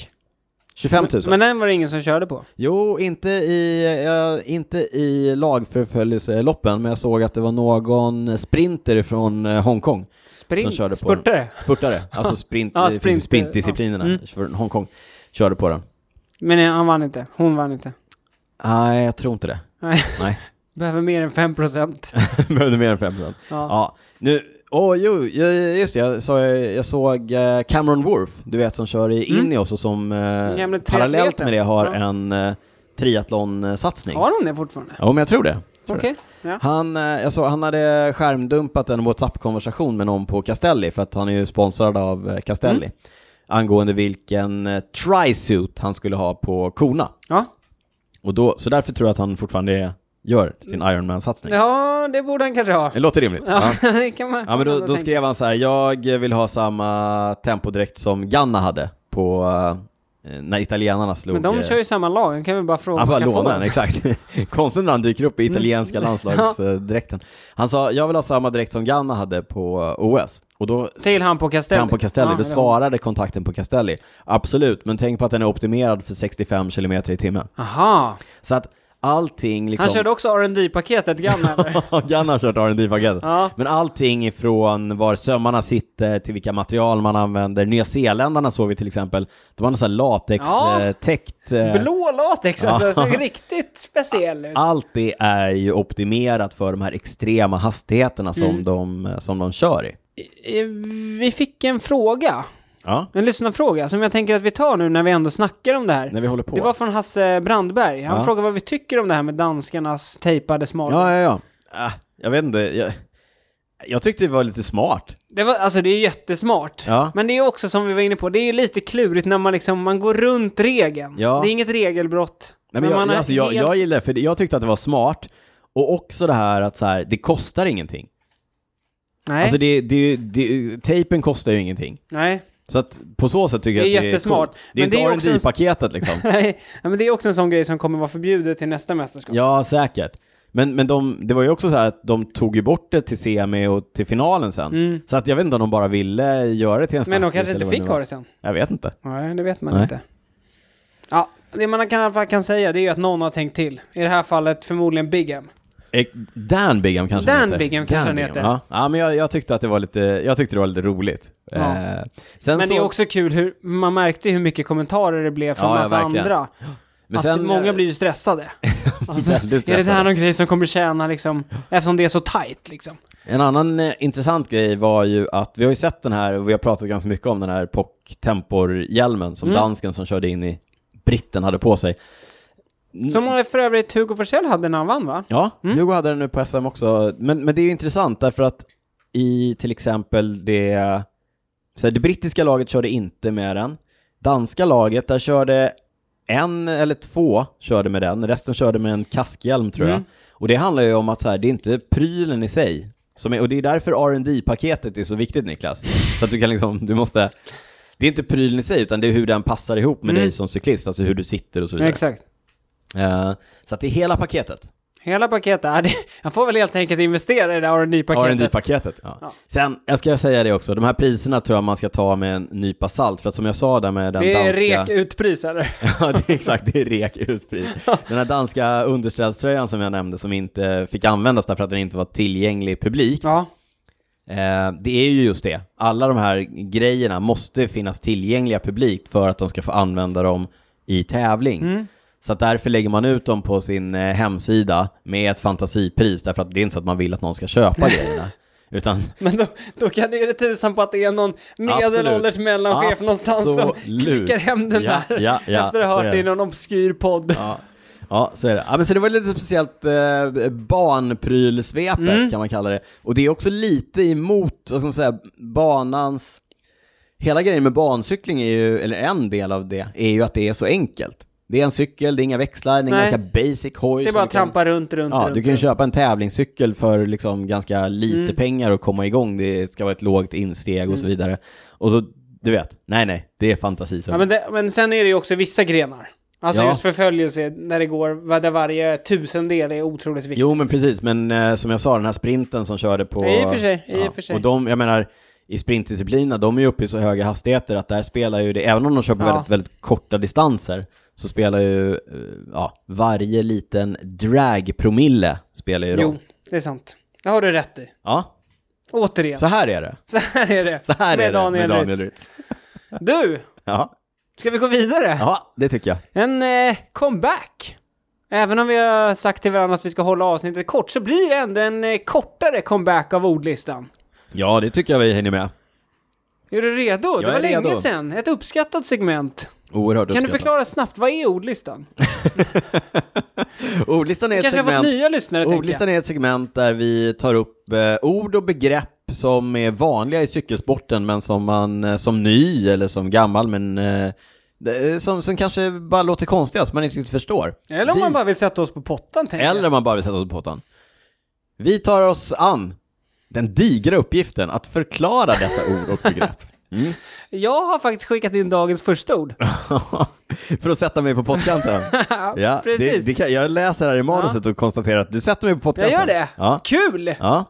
[SPEAKER 1] 25 000.
[SPEAKER 2] Men den var det ingen som körde på.
[SPEAKER 1] Jo, inte i, ja, inte i lagförföljelseloppen, men jag såg att det var någon sprinter från eh, Hongkong,
[SPEAKER 2] Sprint,
[SPEAKER 1] Som körde på den.
[SPEAKER 2] spurtare.
[SPEAKER 1] spurtare, alltså sprint,
[SPEAKER 2] Ja,
[SPEAKER 1] det finns ju
[SPEAKER 2] sprinter,
[SPEAKER 1] sprintdisciplinerna
[SPEAKER 2] ja. Mm.
[SPEAKER 1] från Hongkong, körde på den.
[SPEAKER 2] Men eh, han vann inte. Hon vann inte.
[SPEAKER 1] Nej, jag tror inte det.
[SPEAKER 2] Nej.
[SPEAKER 1] Nej,
[SPEAKER 2] Behöver mer än 5 procent.
[SPEAKER 1] behövde mer än 5
[SPEAKER 2] Ja.
[SPEAKER 1] Ja, nu, åh jo, ja, just det, jag, sa, jag såg eh, Cameron Worth, du vet som kör i
[SPEAKER 2] Mm.
[SPEAKER 1] Ineos och som
[SPEAKER 2] gamle
[SPEAKER 1] eh, parallellt med det har
[SPEAKER 2] Ja.
[SPEAKER 1] en eh, triathlonsatsning.
[SPEAKER 2] Har hon det fortfarande?
[SPEAKER 1] Jo, men jag tror det. Tror
[SPEAKER 2] Okej.
[SPEAKER 1] det.
[SPEAKER 2] Ja.
[SPEAKER 1] Han, eh, jag såg, han hade skärmdumpat en WhatsApp-konversation med någon på Castelli, för att han är ju sponsrad av eh, Castelli,
[SPEAKER 2] Mm.
[SPEAKER 1] angående vilken eh, tri-suit han skulle ha på korna.
[SPEAKER 2] Ja.
[SPEAKER 1] Och då, så därför tror jag att han fortfarande är- gör sin Ironman-satsning.
[SPEAKER 2] Mm. ja, det borde han kanske ha.
[SPEAKER 1] Det låter rimligt.
[SPEAKER 2] Ja,
[SPEAKER 1] Ja.
[SPEAKER 2] det kan man
[SPEAKER 1] Ja, men då,
[SPEAKER 2] ändå
[SPEAKER 1] då
[SPEAKER 2] tänka.
[SPEAKER 1] skrev han så här, jag vill ha samma tempodräkt som Ganna hade på eh, när italienarna slog...
[SPEAKER 2] Men de
[SPEAKER 1] eh,
[SPEAKER 2] kör ju samma lag, kan vi bara fråga
[SPEAKER 1] Han
[SPEAKER 2] om
[SPEAKER 1] bara
[SPEAKER 2] man kan få
[SPEAKER 1] lånar den,
[SPEAKER 2] den.
[SPEAKER 1] exakt. Konstigt när han dyker upp i
[SPEAKER 2] Mm.
[SPEAKER 1] italienska landslagsdräkten. Han sa, jag vill ha samma dräkt som Ganna hade på eh, OS. Och då
[SPEAKER 2] Till han på Castelli.
[SPEAKER 1] han på Castelli,
[SPEAKER 2] Ja,
[SPEAKER 1] då
[SPEAKER 2] eller-
[SPEAKER 1] svarade kontakten på Castelli, absolut, men tänk på att den är optimerad för 65 km i timmen.
[SPEAKER 2] Aha.
[SPEAKER 1] Så att allting liksom...
[SPEAKER 2] Han körde också rd paketet gamla eller?
[SPEAKER 1] Ganna har kört R&D-paketet.
[SPEAKER 2] Ja.
[SPEAKER 1] Men allting ifrån var sömmarna sitter till vilka material man använder. Nya Zeeländarna såg vi till exempel. De hade en
[SPEAKER 2] Ja.
[SPEAKER 1] latex-täckt...
[SPEAKER 2] Blå latex alltså,
[SPEAKER 1] Ja.
[SPEAKER 2] såg riktigt speciell ut.
[SPEAKER 1] Allt det är ju optimerat för de här extrema hastigheterna som,
[SPEAKER 2] Mm.
[SPEAKER 1] de, som de kör i.
[SPEAKER 2] Eh, Vi fick en fråga,
[SPEAKER 1] Ja,
[SPEAKER 2] en lyssnarfråga, som jag tänker att vi tar nu när vi ändå snackar om det här.
[SPEAKER 1] när vi håller på.
[SPEAKER 2] Det var från Hasse Brandberg. Han
[SPEAKER 1] Ja.
[SPEAKER 2] frågade vad vi tycker om det här med danskarnas tejpade smal.
[SPEAKER 1] Ja, ja, ja. Äh, jag vet inte. Jag, jag tyckte det var lite smart.
[SPEAKER 2] Det var, alltså det är jättesmart.
[SPEAKER 1] Ja.
[SPEAKER 2] Men det är också som vi var inne på, det är lite klurigt när man liksom, man går runt regeln.
[SPEAKER 1] Ja.
[SPEAKER 2] Det är inget regelbrott.
[SPEAKER 1] Nej, men jag,
[SPEAKER 2] man är
[SPEAKER 1] alltså, jag,
[SPEAKER 2] helt-
[SPEAKER 1] jag gillar det, för det- jag tyckte att det var smart. Och också det här att så här, det kostar ingenting.
[SPEAKER 2] Nej,
[SPEAKER 1] Alltså det, det, det, tejpen kostar ju ingenting.
[SPEAKER 2] nej.
[SPEAKER 1] Så att på så sätt tycker jag
[SPEAKER 2] Det är
[SPEAKER 1] att det är
[SPEAKER 2] jättesmart.
[SPEAKER 1] coolt. Det är
[SPEAKER 2] Men det är
[SPEAKER 1] inte
[SPEAKER 2] också en-
[SPEAKER 1] R&D-paketet liksom.
[SPEAKER 2] Nej, men det är också en sån grej som kommer vara förbjudet till nästa mästerskap.
[SPEAKER 1] Ja, säkert. Men, men de, det var ju också så här att de tog ju bort det till semi och till finalen sen.
[SPEAKER 2] Mm.
[SPEAKER 1] Så att jag vet inte om de bara ville göra det till en
[SPEAKER 2] men de
[SPEAKER 1] snackis
[SPEAKER 2] kanske
[SPEAKER 1] eller
[SPEAKER 2] inte
[SPEAKER 1] vad
[SPEAKER 2] fick
[SPEAKER 1] nu var.
[SPEAKER 2] ha det sen.
[SPEAKER 1] Jag vet inte.
[SPEAKER 2] Nej, det vet man
[SPEAKER 1] Nej.
[SPEAKER 2] inte. Ja, det man kan, i alla fall kan säga det är ju att någon har tänkt till. I det här fallet förmodligen Big M.
[SPEAKER 1] Eh, Dan Bigham kanske
[SPEAKER 2] Dan
[SPEAKER 1] han heter.
[SPEAKER 2] Bigham kanske han heter.
[SPEAKER 1] Ja, ja men jag, jag tyckte att det var lite, jag tyckte det var lite roligt.
[SPEAKER 2] Ja.
[SPEAKER 1] Eh, sen
[SPEAKER 2] Men
[SPEAKER 1] så,
[SPEAKER 2] det är också kul hur man märkte hur mycket kommentarer det blev från
[SPEAKER 1] Ja, ja,
[SPEAKER 2] massa
[SPEAKER 1] verkligen.
[SPEAKER 2] andra.
[SPEAKER 1] men
[SPEAKER 2] att
[SPEAKER 1] sen, eh,
[SPEAKER 2] många blir ju stressade.
[SPEAKER 1] Väldigt
[SPEAKER 2] alltså, Är det det
[SPEAKER 1] stressade.
[SPEAKER 2] här någon grej som kommer tjäna liksom, eftersom det är så tight liksom?
[SPEAKER 1] En annan eh, intressant grej var ju att vi har ju sett den här, och vi har pratat ganska mycket om den här Pock-Tempor-hjälmen som
[SPEAKER 2] Mm.
[SPEAKER 1] dansken som körde in i britten hade på sig. Mm.
[SPEAKER 2] Som för övrigt Hugo Forsell hade när han vann va?
[SPEAKER 1] Ja,
[SPEAKER 2] Mm.
[SPEAKER 1] Hugo hade den nu på SM också. Men, men det är ju intressant därför att i till exempel det, så här, det brittiska laget körde inte med den. Danska laget, där körde en eller två körde med den, resten körde med en kaskhjälm tror jag.
[SPEAKER 2] Mm.
[SPEAKER 1] Och det handlar ju om att så här, det är inte prylen i sig som är, och det är därför rd paketet är så viktigt Niklas. Så att du kan liksom, du måste, det är inte prylen i sig utan det är hur den passar ihop med
[SPEAKER 2] Mm.
[SPEAKER 1] dig som cyklist, alltså hur du sitter och så vidare.
[SPEAKER 2] Exakt.
[SPEAKER 1] Eh, så att det är hela paketet.
[SPEAKER 2] Hela paketet, ja, det, jag får väl helt enkelt investera i det här
[SPEAKER 1] rd
[SPEAKER 2] R&D-paketet.
[SPEAKER 1] paketet ja.
[SPEAKER 2] Ja.
[SPEAKER 1] Sen, jag ska säga det också, de här priserna tror jag man ska ta med en nypa salt, för att som jag sa där med den
[SPEAKER 2] Det är
[SPEAKER 1] danska...
[SPEAKER 2] rek utpris eller?
[SPEAKER 1] ja, det är exakt, det är rek utpris. Den här danska underställströjan som jag nämnde, som inte fick användas därför att den inte var tillgänglig publikt,
[SPEAKER 2] Ja.
[SPEAKER 1] eh, det är ju just det. Alla de här grejerna måste finnas tillgängliga publikt för att de ska få använda dem i tävling.
[SPEAKER 2] Mm.
[SPEAKER 1] Så att därför lägger man ut dem på sin eh, hemsida med ett fantasipris, därför att det är inte så att man vill att någon ska köpa grejerna. Utan
[SPEAKER 2] Men då, då kan det är det tusan på att det är någon medelålders mellanchef någonstans som
[SPEAKER 1] Absolut.
[SPEAKER 2] klickar hem den
[SPEAKER 1] Ja,
[SPEAKER 2] där.
[SPEAKER 1] ja, ja,
[SPEAKER 2] efter att ha
[SPEAKER 1] så
[SPEAKER 2] hört
[SPEAKER 1] är
[SPEAKER 2] det i
[SPEAKER 1] det.
[SPEAKER 2] någon obskyr podd.
[SPEAKER 1] Ja. ja, så är det. Ja, men så det var lite speciellt eh, barnprylsvepet
[SPEAKER 2] Mm.
[SPEAKER 1] kan man kalla det. Och det är också lite emot, vad ska man säga, banans... Hela grejen med bancykling är ju, eller en del av det, är ju att det är så enkelt. Det är en cykel, det är inga växlar, det är
[SPEAKER 2] Nej.
[SPEAKER 1] en ganska basic hoj.
[SPEAKER 2] det är
[SPEAKER 1] som du
[SPEAKER 2] bara att
[SPEAKER 1] kan-
[SPEAKER 2] trampa runt, runt,
[SPEAKER 1] Ja,
[SPEAKER 2] runt.
[SPEAKER 1] du kan ju
[SPEAKER 2] runt.
[SPEAKER 1] köpa en tävlingscykel för liksom ganska lite
[SPEAKER 2] Mm.
[SPEAKER 1] pengar och komma igång. Det ska vara ett lågt insteg och så vidare. Och så, du vet, nej nej, det är fantasi som
[SPEAKER 2] Ja, men, det, men sen är det ju också vissa grenar. Alltså
[SPEAKER 1] Ja.
[SPEAKER 2] just förföljelse när det går, vad- där varje tusendel är otroligt viktigt.
[SPEAKER 1] Jo men precis, men eh, som jag sa, den här sprinten som körde på...
[SPEAKER 2] I och för sig, i och för sig.
[SPEAKER 1] Och de, jag menar, i sprintdisciplinerna, de är ju uppe i så höga hastigheter att där spelar ju det, även om de kör på
[SPEAKER 2] Ja.
[SPEAKER 1] väldigt, väldigt korta distanser, så spelar ju, eh, ja, varje liten dragpromille spelar ju
[SPEAKER 2] Jo,
[SPEAKER 1] roll.
[SPEAKER 2] det är sant. Det har du rätt i.
[SPEAKER 1] Ja,
[SPEAKER 2] Återigen.
[SPEAKER 1] så här är det.
[SPEAKER 2] Så här är det.
[SPEAKER 1] Så här
[SPEAKER 2] med
[SPEAKER 1] är det
[SPEAKER 2] Daniel
[SPEAKER 1] med Daniel
[SPEAKER 2] Rytz.
[SPEAKER 1] Rytz.
[SPEAKER 2] Du,
[SPEAKER 1] Ja.
[SPEAKER 2] ska vi gå vidare?
[SPEAKER 1] ja, det tycker jag.
[SPEAKER 2] En eh, comeback. Även om vi har sagt till varandra att vi ska hålla avsnittet kort så blir det ändå en eh, kortare comeback av ordlistan.
[SPEAKER 1] Ja, det tycker jag vi hänger med.
[SPEAKER 2] Är du redo? det
[SPEAKER 1] är
[SPEAKER 2] var länge
[SPEAKER 1] redo.
[SPEAKER 2] sedan. Ett uppskattat segment.
[SPEAKER 1] Oerhört
[SPEAKER 2] Kan du
[SPEAKER 1] uppskattat.
[SPEAKER 2] förklara snabbt, vad är ordlistan?
[SPEAKER 1] Ordlistan Oh, är
[SPEAKER 2] Vi
[SPEAKER 1] ett
[SPEAKER 2] kanske har
[SPEAKER 1] segment...
[SPEAKER 2] fått nya lyssnare, tänker jag.
[SPEAKER 1] Ordlistan är ett segment där vi tar upp eh, ord och begrepp som är vanliga i cykelsporten men som man eh, som ny eller som gammal men eh, det- eh, som, som kanske bara låter konstiga som man inte riktigt förstår.
[SPEAKER 2] Eller om
[SPEAKER 1] vi,
[SPEAKER 2] man bara vill sätta oss på pottan, tänker
[SPEAKER 1] eller om man bara vill sätta oss på pottan. Vi tar oss an den digra uppgiften att förklara dessa ord och begrepp. Mm.
[SPEAKER 2] jag. Jag har faktiskt skickat in dagens första ord.
[SPEAKER 1] För att sätta mig på pottkanten. Ja, det,
[SPEAKER 2] precis.
[SPEAKER 1] det kan, jag läser här i manuset och konstaterar att du sätter mig på
[SPEAKER 2] jag
[SPEAKER 1] pottkanten.
[SPEAKER 2] gör det.
[SPEAKER 1] Ja.
[SPEAKER 2] Kul!
[SPEAKER 1] Ja.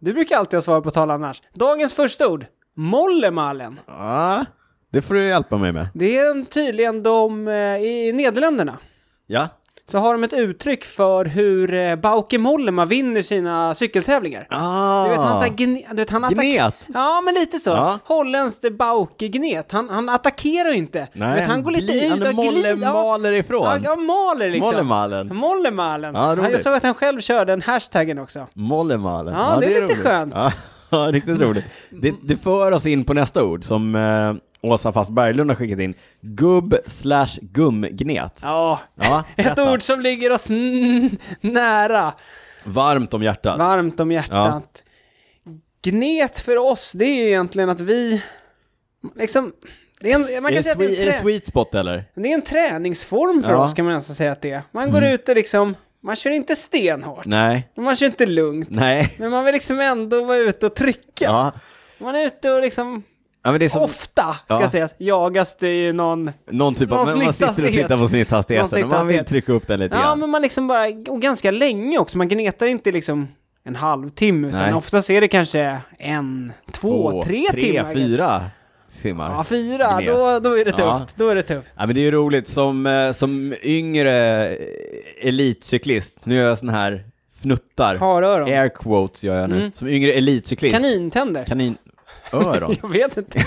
[SPEAKER 2] Du brukar alltid ha svar på tal annars. Dagens första ord. Mollemalen.
[SPEAKER 1] Ja, det får du hjälpa mig med.
[SPEAKER 2] Det är en, tydligen de eh, i Nederländerna.
[SPEAKER 1] Ja.
[SPEAKER 2] Så har de ett uttryck för hur eh, Bauke Mollema vinner sina cykeltävlingar.
[SPEAKER 1] Ah.
[SPEAKER 2] Du vet, han, så här, gne, du vet, han attack-
[SPEAKER 1] Gnet.
[SPEAKER 2] Ja, men lite så.
[SPEAKER 1] Ja.
[SPEAKER 2] Holländskt Bauke-gnet. Han, han attackerar ju inte. Du vet, han går lite
[SPEAKER 1] gli-
[SPEAKER 2] ut och glider.
[SPEAKER 1] Han maler
[SPEAKER 2] ja,
[SPEAKER 1] ifrån.
[SPEAKER 2] ja, maler liksom.
[SPEAKER 1] Mollemalen.
[SPEAKER 2] Mollemalen.
[SPEAKER 1] Ja, roligt.
[SPEAKER 2] Han- jag såg att han själv körde den hashtaggen också.
[SPEAKER 1] Mollemalen.
[SPEAKER 2] Ja, det är lite
[SPEAKER 1] roligt.
[SPEAKER 2] skönt.
[SPEAKER 1] Ja, ja, riktigt roligt. Det, det för oss in på nästa ord som eh, Åsa Fast Berglund har skickat in. Gubb slash gumgnet.
[SPEAKER 2] Ja,
[SPEAKER 1] Ja,
[SPEAKER 2] ett
[SPEAKER 1] berätta.
[SPEAKER 2] ord som ligger oss n- nära.
[SPEAKER 1] Varmt om hjärtat.
[SPEAKER 2] Varmt om hjärtat. Gnet för oss, det är ju egentligen att vi... Liksom, det är en, man
[SPEAKER 1] är,
[SPEAKER 2] kan
[SPEAKER 1] det
[SPEAKER 2] säga att
[SPEAKER 1] swe- är
[SPEAKER 2] det är en,
[SPEAKER 1] det
[SPEAKER 2] trä-
[SPEAKER 1] sweet spot eller?
[SPEAKER 2] det är en träningsform för
[SPEAKER 1] Ja. Mm.
[SPEAKER 2] oss, kan man nästan säga att det är. Man går ut och liksom... Man kör inte stenhårt.
[SPEAKER 1] Nej.
[SPEAKER 2] Men man kör inte lugnt.
[SPEAKER 1] Nej.
[SPEAKER 2] Men man vill liksom ändå vara ute och trycka.
[SPEAKER 1] Ja.
[SPEAKER 2] Man är ute och liksom...
[SPEAKER 1] ja men det är som
[SPEAKER 2] Ofta, ska
[SPEAKER 1] Ja.
[SPEAKER 2] jag säga, jagas det ju någon...
[SPEAKER 1] någon typ av...
[SPEAKER 2] någon
[SPEAKER 1] Man, man sitter och
[SPEAKER 2] snitthastighet.
[SPEAKER 1] tittar på snitthastigheten och man vill
[SPEAKER 2] snitthastighet.
[SPEAKER 1] trycka upp den lite
[SPEAKER 2] Ja,
[SPEAKER 1] grann.
[SPEAKER 2] men man liksom bara, och ganska länge också, man gnetar inte liksom en halvtimme, utan
[SPEAKER 1] Nej.
[SPEAKER 2] oftast är det kanske en, två, tre, timmar.
[SPEAKER 1] fyra timmar.
[SPEAKER 2] Ja, fyra,
[SPEAKER 1] Gnet.
[SPEAKER 2] då, då är det tufft.
[SPEAKER 1] Ja.
[SPEAKER 2] Då är det tufft.
[SPEAKER 1] Ja, men det är ju roligt, som, eh, som yngre eh, elitcyklist, nu gör jag sån här fnuttar.
[SPEAKER 2] Haröron.
[SPEAKER 1] Air quotes gör jag nu.
[SPEAKER 2] Mm.
[SPEAKER 1] Som yngre elitcyklist.
[SPEAKER 2] Kanintänder.
[SPEAKER 1] Kaninöron.
[SPEAKER 2] Jag vet inte.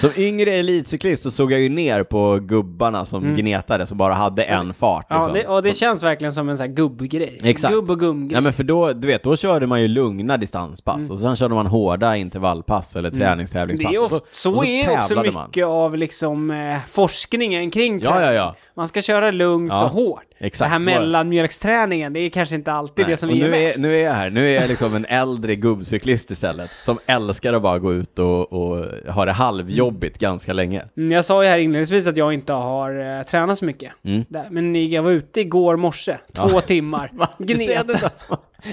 [SPEAKER 1] som yngre elitcyklist så såg jag ju ner på gubbarna som gnetades och bara hade en fart.
[SPEAKER 2] Mm. Ja,
[SPEAKER 1] Liksom.
[SPEAKER 2] det, och det
[SPEAKER 1] så,
[SPEAKER 2] känns verkligen som en sån här gubbgrej.
[SPEAKER 1] Exakt.
[SPEAKER 2] Gubb och gumgrej.
[SPEAKER 1] nej, men för då, du vet, då körde man ju lugna distanspass och sen körde man hårda intervallpass eller
[SPEAKER 2] Mm. Det
[SPEAKER 1] träningstävlingspass.
[SPEAKER 2] är
[SPEAKER 1] och
[SPEAKER 2] ofta, så,
[SPEAKER 1] och
[SPEAKER 2] är också
[SPEAKER 1] tävlade
[SPEAKER 2] mycket
[SPEAKER 1] man.
[SPEAKER 2] av liksom, eh, forskningen kring
[SPEAKER 1] Ja, ja, ja.
[SPEAKER 2] Man ska köra lugnt
[SPEAKER 1] Ja,
[SPEAKER 2] och hårt.
[SPEAKER 1] exakt,
[SPEAKER 2] det här
[SPEAKER 1] så var det.
[SPEAKER 2] mellanmjölksträningen, det är kanske inte alltid
[SPEAKER 1] Nej,
[SPEAKER 2] det som
[SPEAKER 1] och
[SPEAKER 2] ger
[SPEAKER 1] nu
[SPEAKER 2] mest.
[SPEAKER 1] är, nu är jag här, nu är jag liksom en äldre gubbcyklist istället, som älskar att bara gå ut och, och ha det halvjobbigt ganska länge.
[SPEAKER 2] Mm, Jag sa ju här inledningsvis att jag inte har eh, tränat så mycket.
[SPEAKER 1] Mm.
[SPEAKER 2] Där. Men ni- jag var ute igår morse, två timmar. Gneta.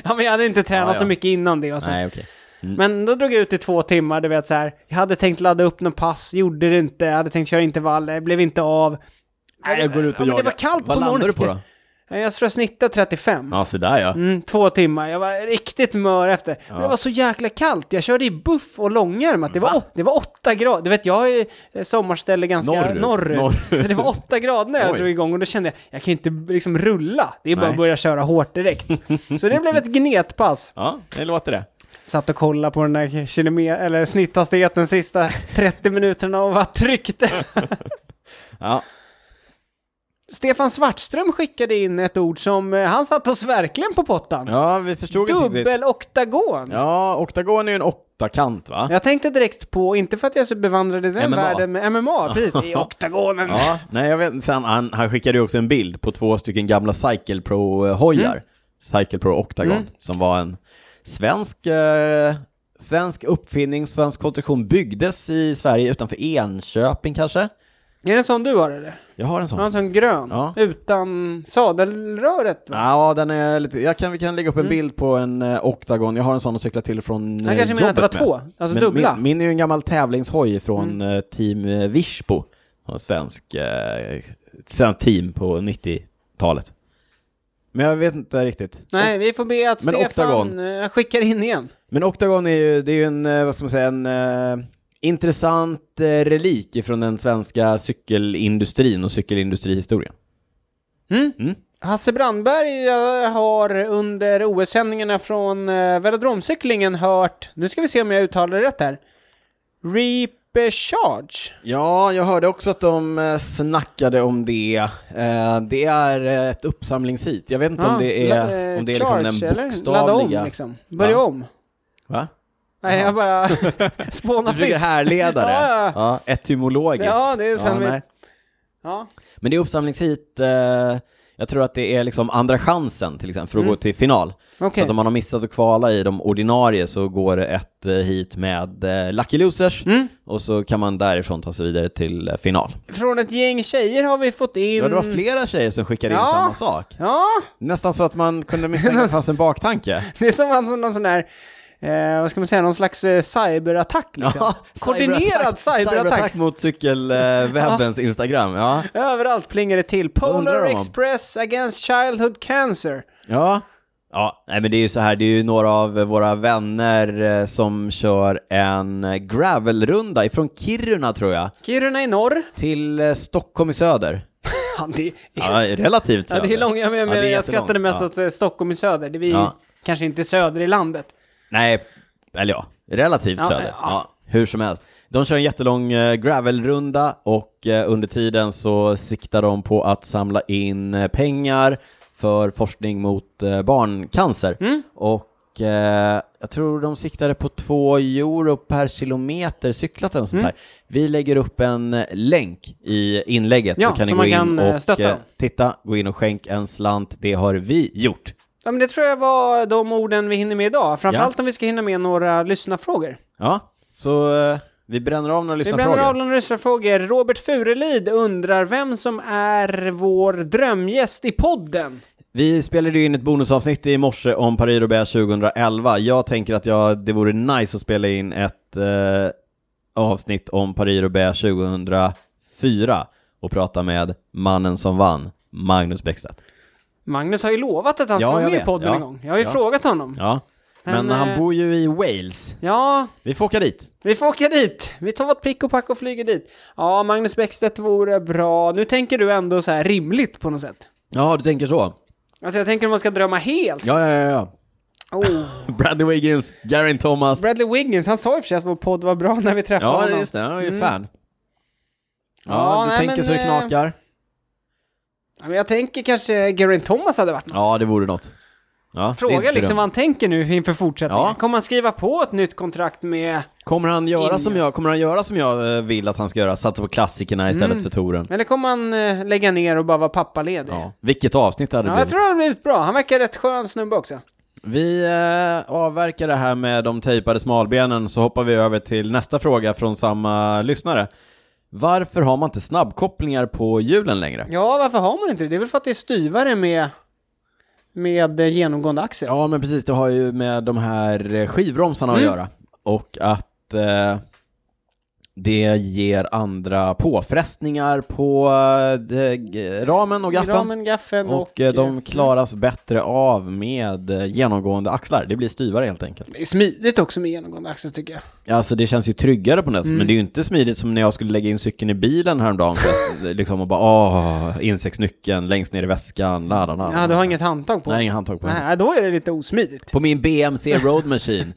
[SPEAKER 2] Ja, men jag hade inte tränat
[SPEAKER 1] Ja, ja.
[SPEAKER 2] så mycket innan det. Och så.
[SPEAKER 1] Nej, okej.
[SPEAKER 2] Men då drog jag ut i två timmar, du vet så här. Jag hade tänkt ladda upp någon pass, gjorde det inte. Jag hade tänkt köra intervaller, blev inte av.
[SPEAKER 1] Nej, jag går ut och
[SPEAKER 2] ja, men
[SPEAKER 1] jagar.
[SPEAKER 2] Det var
[SPEAKER 1] Vad
[SPEAKER 2] kallt på
[SPEAKER 1] landar
[SPEAKER 2] morgonen.
[SPEAKER 1] du på då?
[SPEAKER 2] Ja, Jag tror jag snittade 35.
[SPEAKER 1] Ja, så där ja.
[SPEAKER 2] Mm, två timmar. Jag var riktigt mör efter. Men det var så jäkla kallt. Jag körde i buff och långärmat. Det var, åt- det var åtta grader. Du vet, jag har ju eh, sommarställe ganska
[SPEAKER 1] Norrut.
[SPEAKER 2] norrut.
[SPEAKER 1] Norrut.
[SPEAKER 2] Så det var åtta grader när jag
[SPEAKER 1] Oj.
[SPEAKER 2] drog igång och då kände jag, jag kan ju inte liksom rulla. Det är bara
[SPEAKER 1] Nej.
[SPEAKER 2] att börja köra hårt direkt. så det blev ett gnetpass.
[SPEAKER 1] Ja, det låter det.
[SPEAKER 2] Satt och kollade på den där kilometer, eller snitthastigheten sista 30 minuterna och var tryckte.
[SPEAKER 1] Ja.
[SPEAKER 2] Stefan Svartström skickade in ett ord som, eh, han satt oss verkligen på pottan.
[SPEAKER 1] ja, vi förstod inte riktigt.
[SPEAKER 2] Dubbel-oktagon.
[SPEAKER 1] Ja, oktagon är ju en åttakant va?
[SPEAKER 2] Jag tänkte direkt på, inte för att jag är så bevandrad i den
[SPEAKER 1] MMA.
[SPEAKER 2] världen, men MMA, precis, i oktagonen.
[SPEAKER 1] Ja, nej jag vet inte. Sen, han, han skickade ju också en bild på två stycken gamla Cycle Pro-hojar.
[SPEAKER 2] Mm.
[SPEAKER 1] Cycle Pro Octagon, som var en svensk, eh, svensk uppfinning, svensk konstruktion, byggdes i Sverige utanför Enköping kanske?
[SPEAKER 2] Är det en sån du har eller?
[SPEAKER 1] Jag har en sån.
[SPEAKER 2] Ja, en sån grön,
[SPEAKER 1] Ja.
[SPEAKER 2] utan sadelröret va?
[SPEAKER 1] Ja, den är lite, jag kan, vi kan lägga upp en
[SPEAKER 2] Mm.
[SPEAKER 1] bild på en eh, Octagon, jag har en sån att cykla till från eh,
[SPEAKER 2] Han kanske menar att det var
[SPEAKER 1] jobbet med.
[SPEAKER 2] två, alltså
[SPEAKER 1] Men
[SPEAKER 2] dubbla. Mm.
[SPEAKER 1] Min, min är ju en gammal tävlingshoj från eh, Team eh, Virsbo, som var svensk, eh, ett svenskt team på 90-talet. Men jag vet inte riktigt.
[SPEAKER 2] Nej, vi får be att
[SPEAKER 1] Men
[SPEAKER 2] Stefan
[SPEAKER 1] oktagon.
[SPEAKER 2] eh, skickar in igen.
[SPEAKER 1] Men Octagon är ju, det är ju en, eh, vad ska man säga, en eh, intressant eh, relik ifrån den svenska cykelindustrin och cykelindustrihistorien.
[SPEAKER 2] Mm?
[SPEAKER 1] Mm.
[SPEAKER 2] Hasse Brandberg eh, har under OS-sändningarna från eh, velodromcyklingen hört, nu ska vi se om jag uttalar det rätt här, Reapcharge.
[SPEAKER 1] Ja, jag hörde också att de eh, snackade om det. Eh, Det är eh, ett uppsamlingshit. Jag vet inte om det är, om det är liksom den
[SPEAKER 2] eh, Ladda om
[SPEAKER 1] bokstavliga...
[SPEAKER 2] liksom, börja
[SPEAKER 1] Va?
[SPEAKER 2] om.
[SPEAKER 1] Va?
[SPEAKER 2] Nej, jag bara
[SPEAKER 1] Du försöker
[SPEAKER 2] spånar fritt.
[SPEAKER 1] härleda det?
[SPEAKER 2] Ja, ja.
[SPEAKER 1] ja, etymologiskt.
[SPEAKER 2] Ja, det är sen vi-
[SPEAKER 1] nej.
[SPEAKER 2] Ja.
[SPEAKER 1] Men det är uppsamlingshit, eh, jag tror att det är liksom andra chansen till exempel för att gå till final.
[SPEAKER 2] Mm. Okej.
[SPEAKER 1] Så att om man har missat att kvala i de ordinarie så går det ett eh, hit med eh, Lucky Losers
[SPEAKER 2] Mm.
[SPEAKER 1] och så kan man därifrån ta sig vidare till eh, final.
[SPEAKER 2] Från ett gäng tjejer har vi fått in...
[SPEAKER 1] Ja, det var flera tjejer som skickade in
[SPEAKER 2] Ja.
[SPEAKER 1] samma sak.
[SPEAKER 2] Ja,
[SPEAKER 1] Nästan så att man kunde misstänka att det fanns en baktanke.
[SPEAKER 2] det är som han som någon sån där... Eh, vad ska man säga? Någon slags eh, cyberattack liksom. Koordinerad cyberattack.
[SPEAKER 1] Cyberattack mot cykelwebbens Instagram. Ja.
[SPEAKER 2] Överallt plingar det till. Polar
[SPEAKER 1] Undrar om-
[SPEAKER 2] Express against childhood cancer.
[SPEAKER 1] Ja. Ja, nej men det är ju så här, det är ju några av våra vänner eh, som kör en eh, gravelrunda ifrån Kiruna tror jag,
[SPEAKER 2] Kiruna i norr.
[SPEAKER 1] till eh, Stockholm i söder.
[SPEAKER 2] Ja, det,
[SPEAKER 1] Ja, relativt
[SPEAKER 2] ja,
[SPEAKER 1] söder.
[SPEAKER 2] det är långa, men,
[SPEAKER 1] Ja, det är
[SPEAKER 2] jag
[SPEAKER 1] jättelångt.
[SPEAKER 2] skrattade mest
[SPEAKER 1] Ja.
[SPEAKER 2] åt eh, Stockholm i söder. Det är vi
[SPEAKER 1] Ja.
[SPEAKER 2] kanske inte söder i landet.
[SPEAKER 1] Nej, eller ja, relativt
[SPEAKER 2] Ja,
[SPEAKER 1] söder.
[SPEAKER 2] ja.
[SPEAKER 1] Ja. hur som helst. De kör en jättelång eh, gravelrunda och eh, under tiden så siktar de på att samla in eh, pengar för forskning mot eh, barncancer.
[SPEAKER 2] Mm.
[SPEAKER 1] Och eh, jag tror de siktade på två euro per kilometer cyklat eller sånt
[SPEAKER 2] Mm.
[SPEAKER 1] där. Vi lägger upp en eh, länk i inlägget
[SPEAKER 2] Ja,
[SPEAKER 1] så kan ni
[SPEAKER 2] så
[SPEAKER 1] gå
[SPEAKER 2] man
[SPEAKER 1] in
[SPEAKER 2] kan, eh,
[SPEAKER 1] och
[SPEAKER 2] stötta
[SPEAKER 1] eh,
[SPEAKER 2] dem.
[SPEAKER 1] titta, gå in och skänk en slant. Det har vi gjort.
[SPEAKER 2] Ja, men det tror jag var de orden vi hinner med idag. Framförallt om vi ska hinna med några lyssnarfrågor.
[SPEAKER 1] Ja, så eh, vi bränner av några
[SPEAKER 2] Vi
[SPEAKER 1] lyssnarfrågor.
[SPEAKER 2] bränner av några lyssnarfrågor. Robert Furelid undrar vem som är vår drömgäst i podden.
[SPEAKER 1] Vi spelade ju in ett bonusavsnitt i morse om Paris Roubaix 2011. Jag tänker att jag, det vore nice att spela in ett eh, avsnitt om Paris Roubaix 2004 och prata med mannen som vann, Magnus Bäckstedt.
[SPEAKER 2] Magnus har ju lovat att han ska
[SPEAKER 1] Ja,
[SPEAKER 2] vara
[SPEAKER 1] jag
[SPEAKER 2] med i
[SPEAKER 1] vet.
[SPEAKER 2] podden
[SPEAKER 1] Ja.
[SPEAKER 2] en gång. Jag har ju
[SPEAKER 1] Ja.
[SPEAKER 2] frågat honom.
[SPEAKER 1] Ja, men,
[SPEAKER 2] Men, eh,
[SPEAKER 1] han bor ju i Wales.
[SPEAKER 2] Ja,
[SPEAKER 1] Vi får åka dit.
[SPEAKER 2] vi får åka dit. Vi tar vårt pick och pack och flyger dit. Ja, Magnus Bäckstedt vore bra. Nu tänker du ändå så här rimligt på något sätt.
[SPEAKER 1] Ja, du tänker så.
[SPEAKER 2] Alltså jag tänker om man ska drömma helt.
[SPEAKER 1] Ja, ja, ja, ja.
[SPEAKER 2] Oh.
[SPEAKER 1] Bradley Wiggins, Garin Thomas.
[SPEAKER 2] Bradley Wiggins, han sa i och för sig att vår podd var bra när vi träffade
[SPEAKER 1] ja,
[SPEAKER 2] honom.
[SPEAKER 1] just det. Han är ju
[SPEAKER 2] Mm.
[SPEAKER 1] fan. Ja,
[SPEAKER 2] Ja,
[SPEAKER 1] du
[SPEAKER 2] nej,
[SPEAKER 1] tänker
[SPEAKER 2] men,
[SPEAKER 1] så det
[SPEAKER 2] eh,
[SPEAKER 1] knakar.
[SPEAKER 2] Ja, men jag tänker kanske Geraint Thomas hade varit något.
[SPEAKER 1] Ja, det vore något. Ja, det är
[SPEAKER 2] Fråga
[SPEAKER 1] inte
[SPEAKER 2] liksom
[SPEAKER 1] dumt.
[SPEAKER 2] vad han tänker nu inför fortsättningen.
[SPEAKER 1] Ja.
[SPEAKER 2] Kommer han skriva på ett nytt kontrakt med...
[SPEAKER 1] Kommer han göra
[SPEAKER 2] in
[SPEAKER 1] som
[SPEAKER 2] just.
[SPEAKER 1] jag, kommer han göra som jag eh, vill att han ska göra? Satsa på klassikerna istället
[SPEAKER 2] Mm.
[SPEAKER 1] för touren.
[SPEAKER 2] Eller kommer han eh, lägga ner och bara vara pappaledig?
[SPEAKER 1] Ja, vilket avsnitt det hade
[SPEAKER 2] Ja, jag
[SPEAKER 1] blivit.
[SPEAKER 2] tror han har blivit bra. Han verkar rätt skön snubbe också.
[SPEAKER 1] Vi eh, avverkar det här med de tejpade smalbenen så hoppar vi över till nästa fråga från samma lyssnare. Varför har man inte snabbkopplingar på hjulen längre?
[SPEAKER 2] Ja, varför har man inte det? Det är väl för att det är styvare med, med eh, genomgående axel.
[SPEAKER 1] Ja, men precis. Det har ju med de här eh, skivromsarna
[SPEAKER 2] Mm.
[SPEAKER 1] att göra. Och att eh, det ger andra påfrestningar på eh, de- g- ramen och gaffeln.
[SPEAKER 2] Ramen, gaffeln och...
[SPEAKER 1] Och, eh, de
[SPEAKER 2] eh,
[SPEAKER 1] klaras bättre av med eh, genomgående axlar. Det blir styvare helt enkelt.
[SPEAKER 2] Det är smidigt också med genomgående axel tycker jag.
[SPEAKER 1] Alltså det känns ju tryggare på nätet, men det är ju inte smidigt som när jag skulle lägga in cykeln i bilen häromdagen. För att, liksom och bara åh, insektsnyckeln längst ner i väskan, la, la, la, la.
[SPEAKER 2] Ja, du har inget handtag på?
[SPEAKER 1] Nej, inga handtag på den.
[SPEAKER 2] Nej, då är det lite osmidigt.
[SPEAKER 1] På min BMC Road Machine.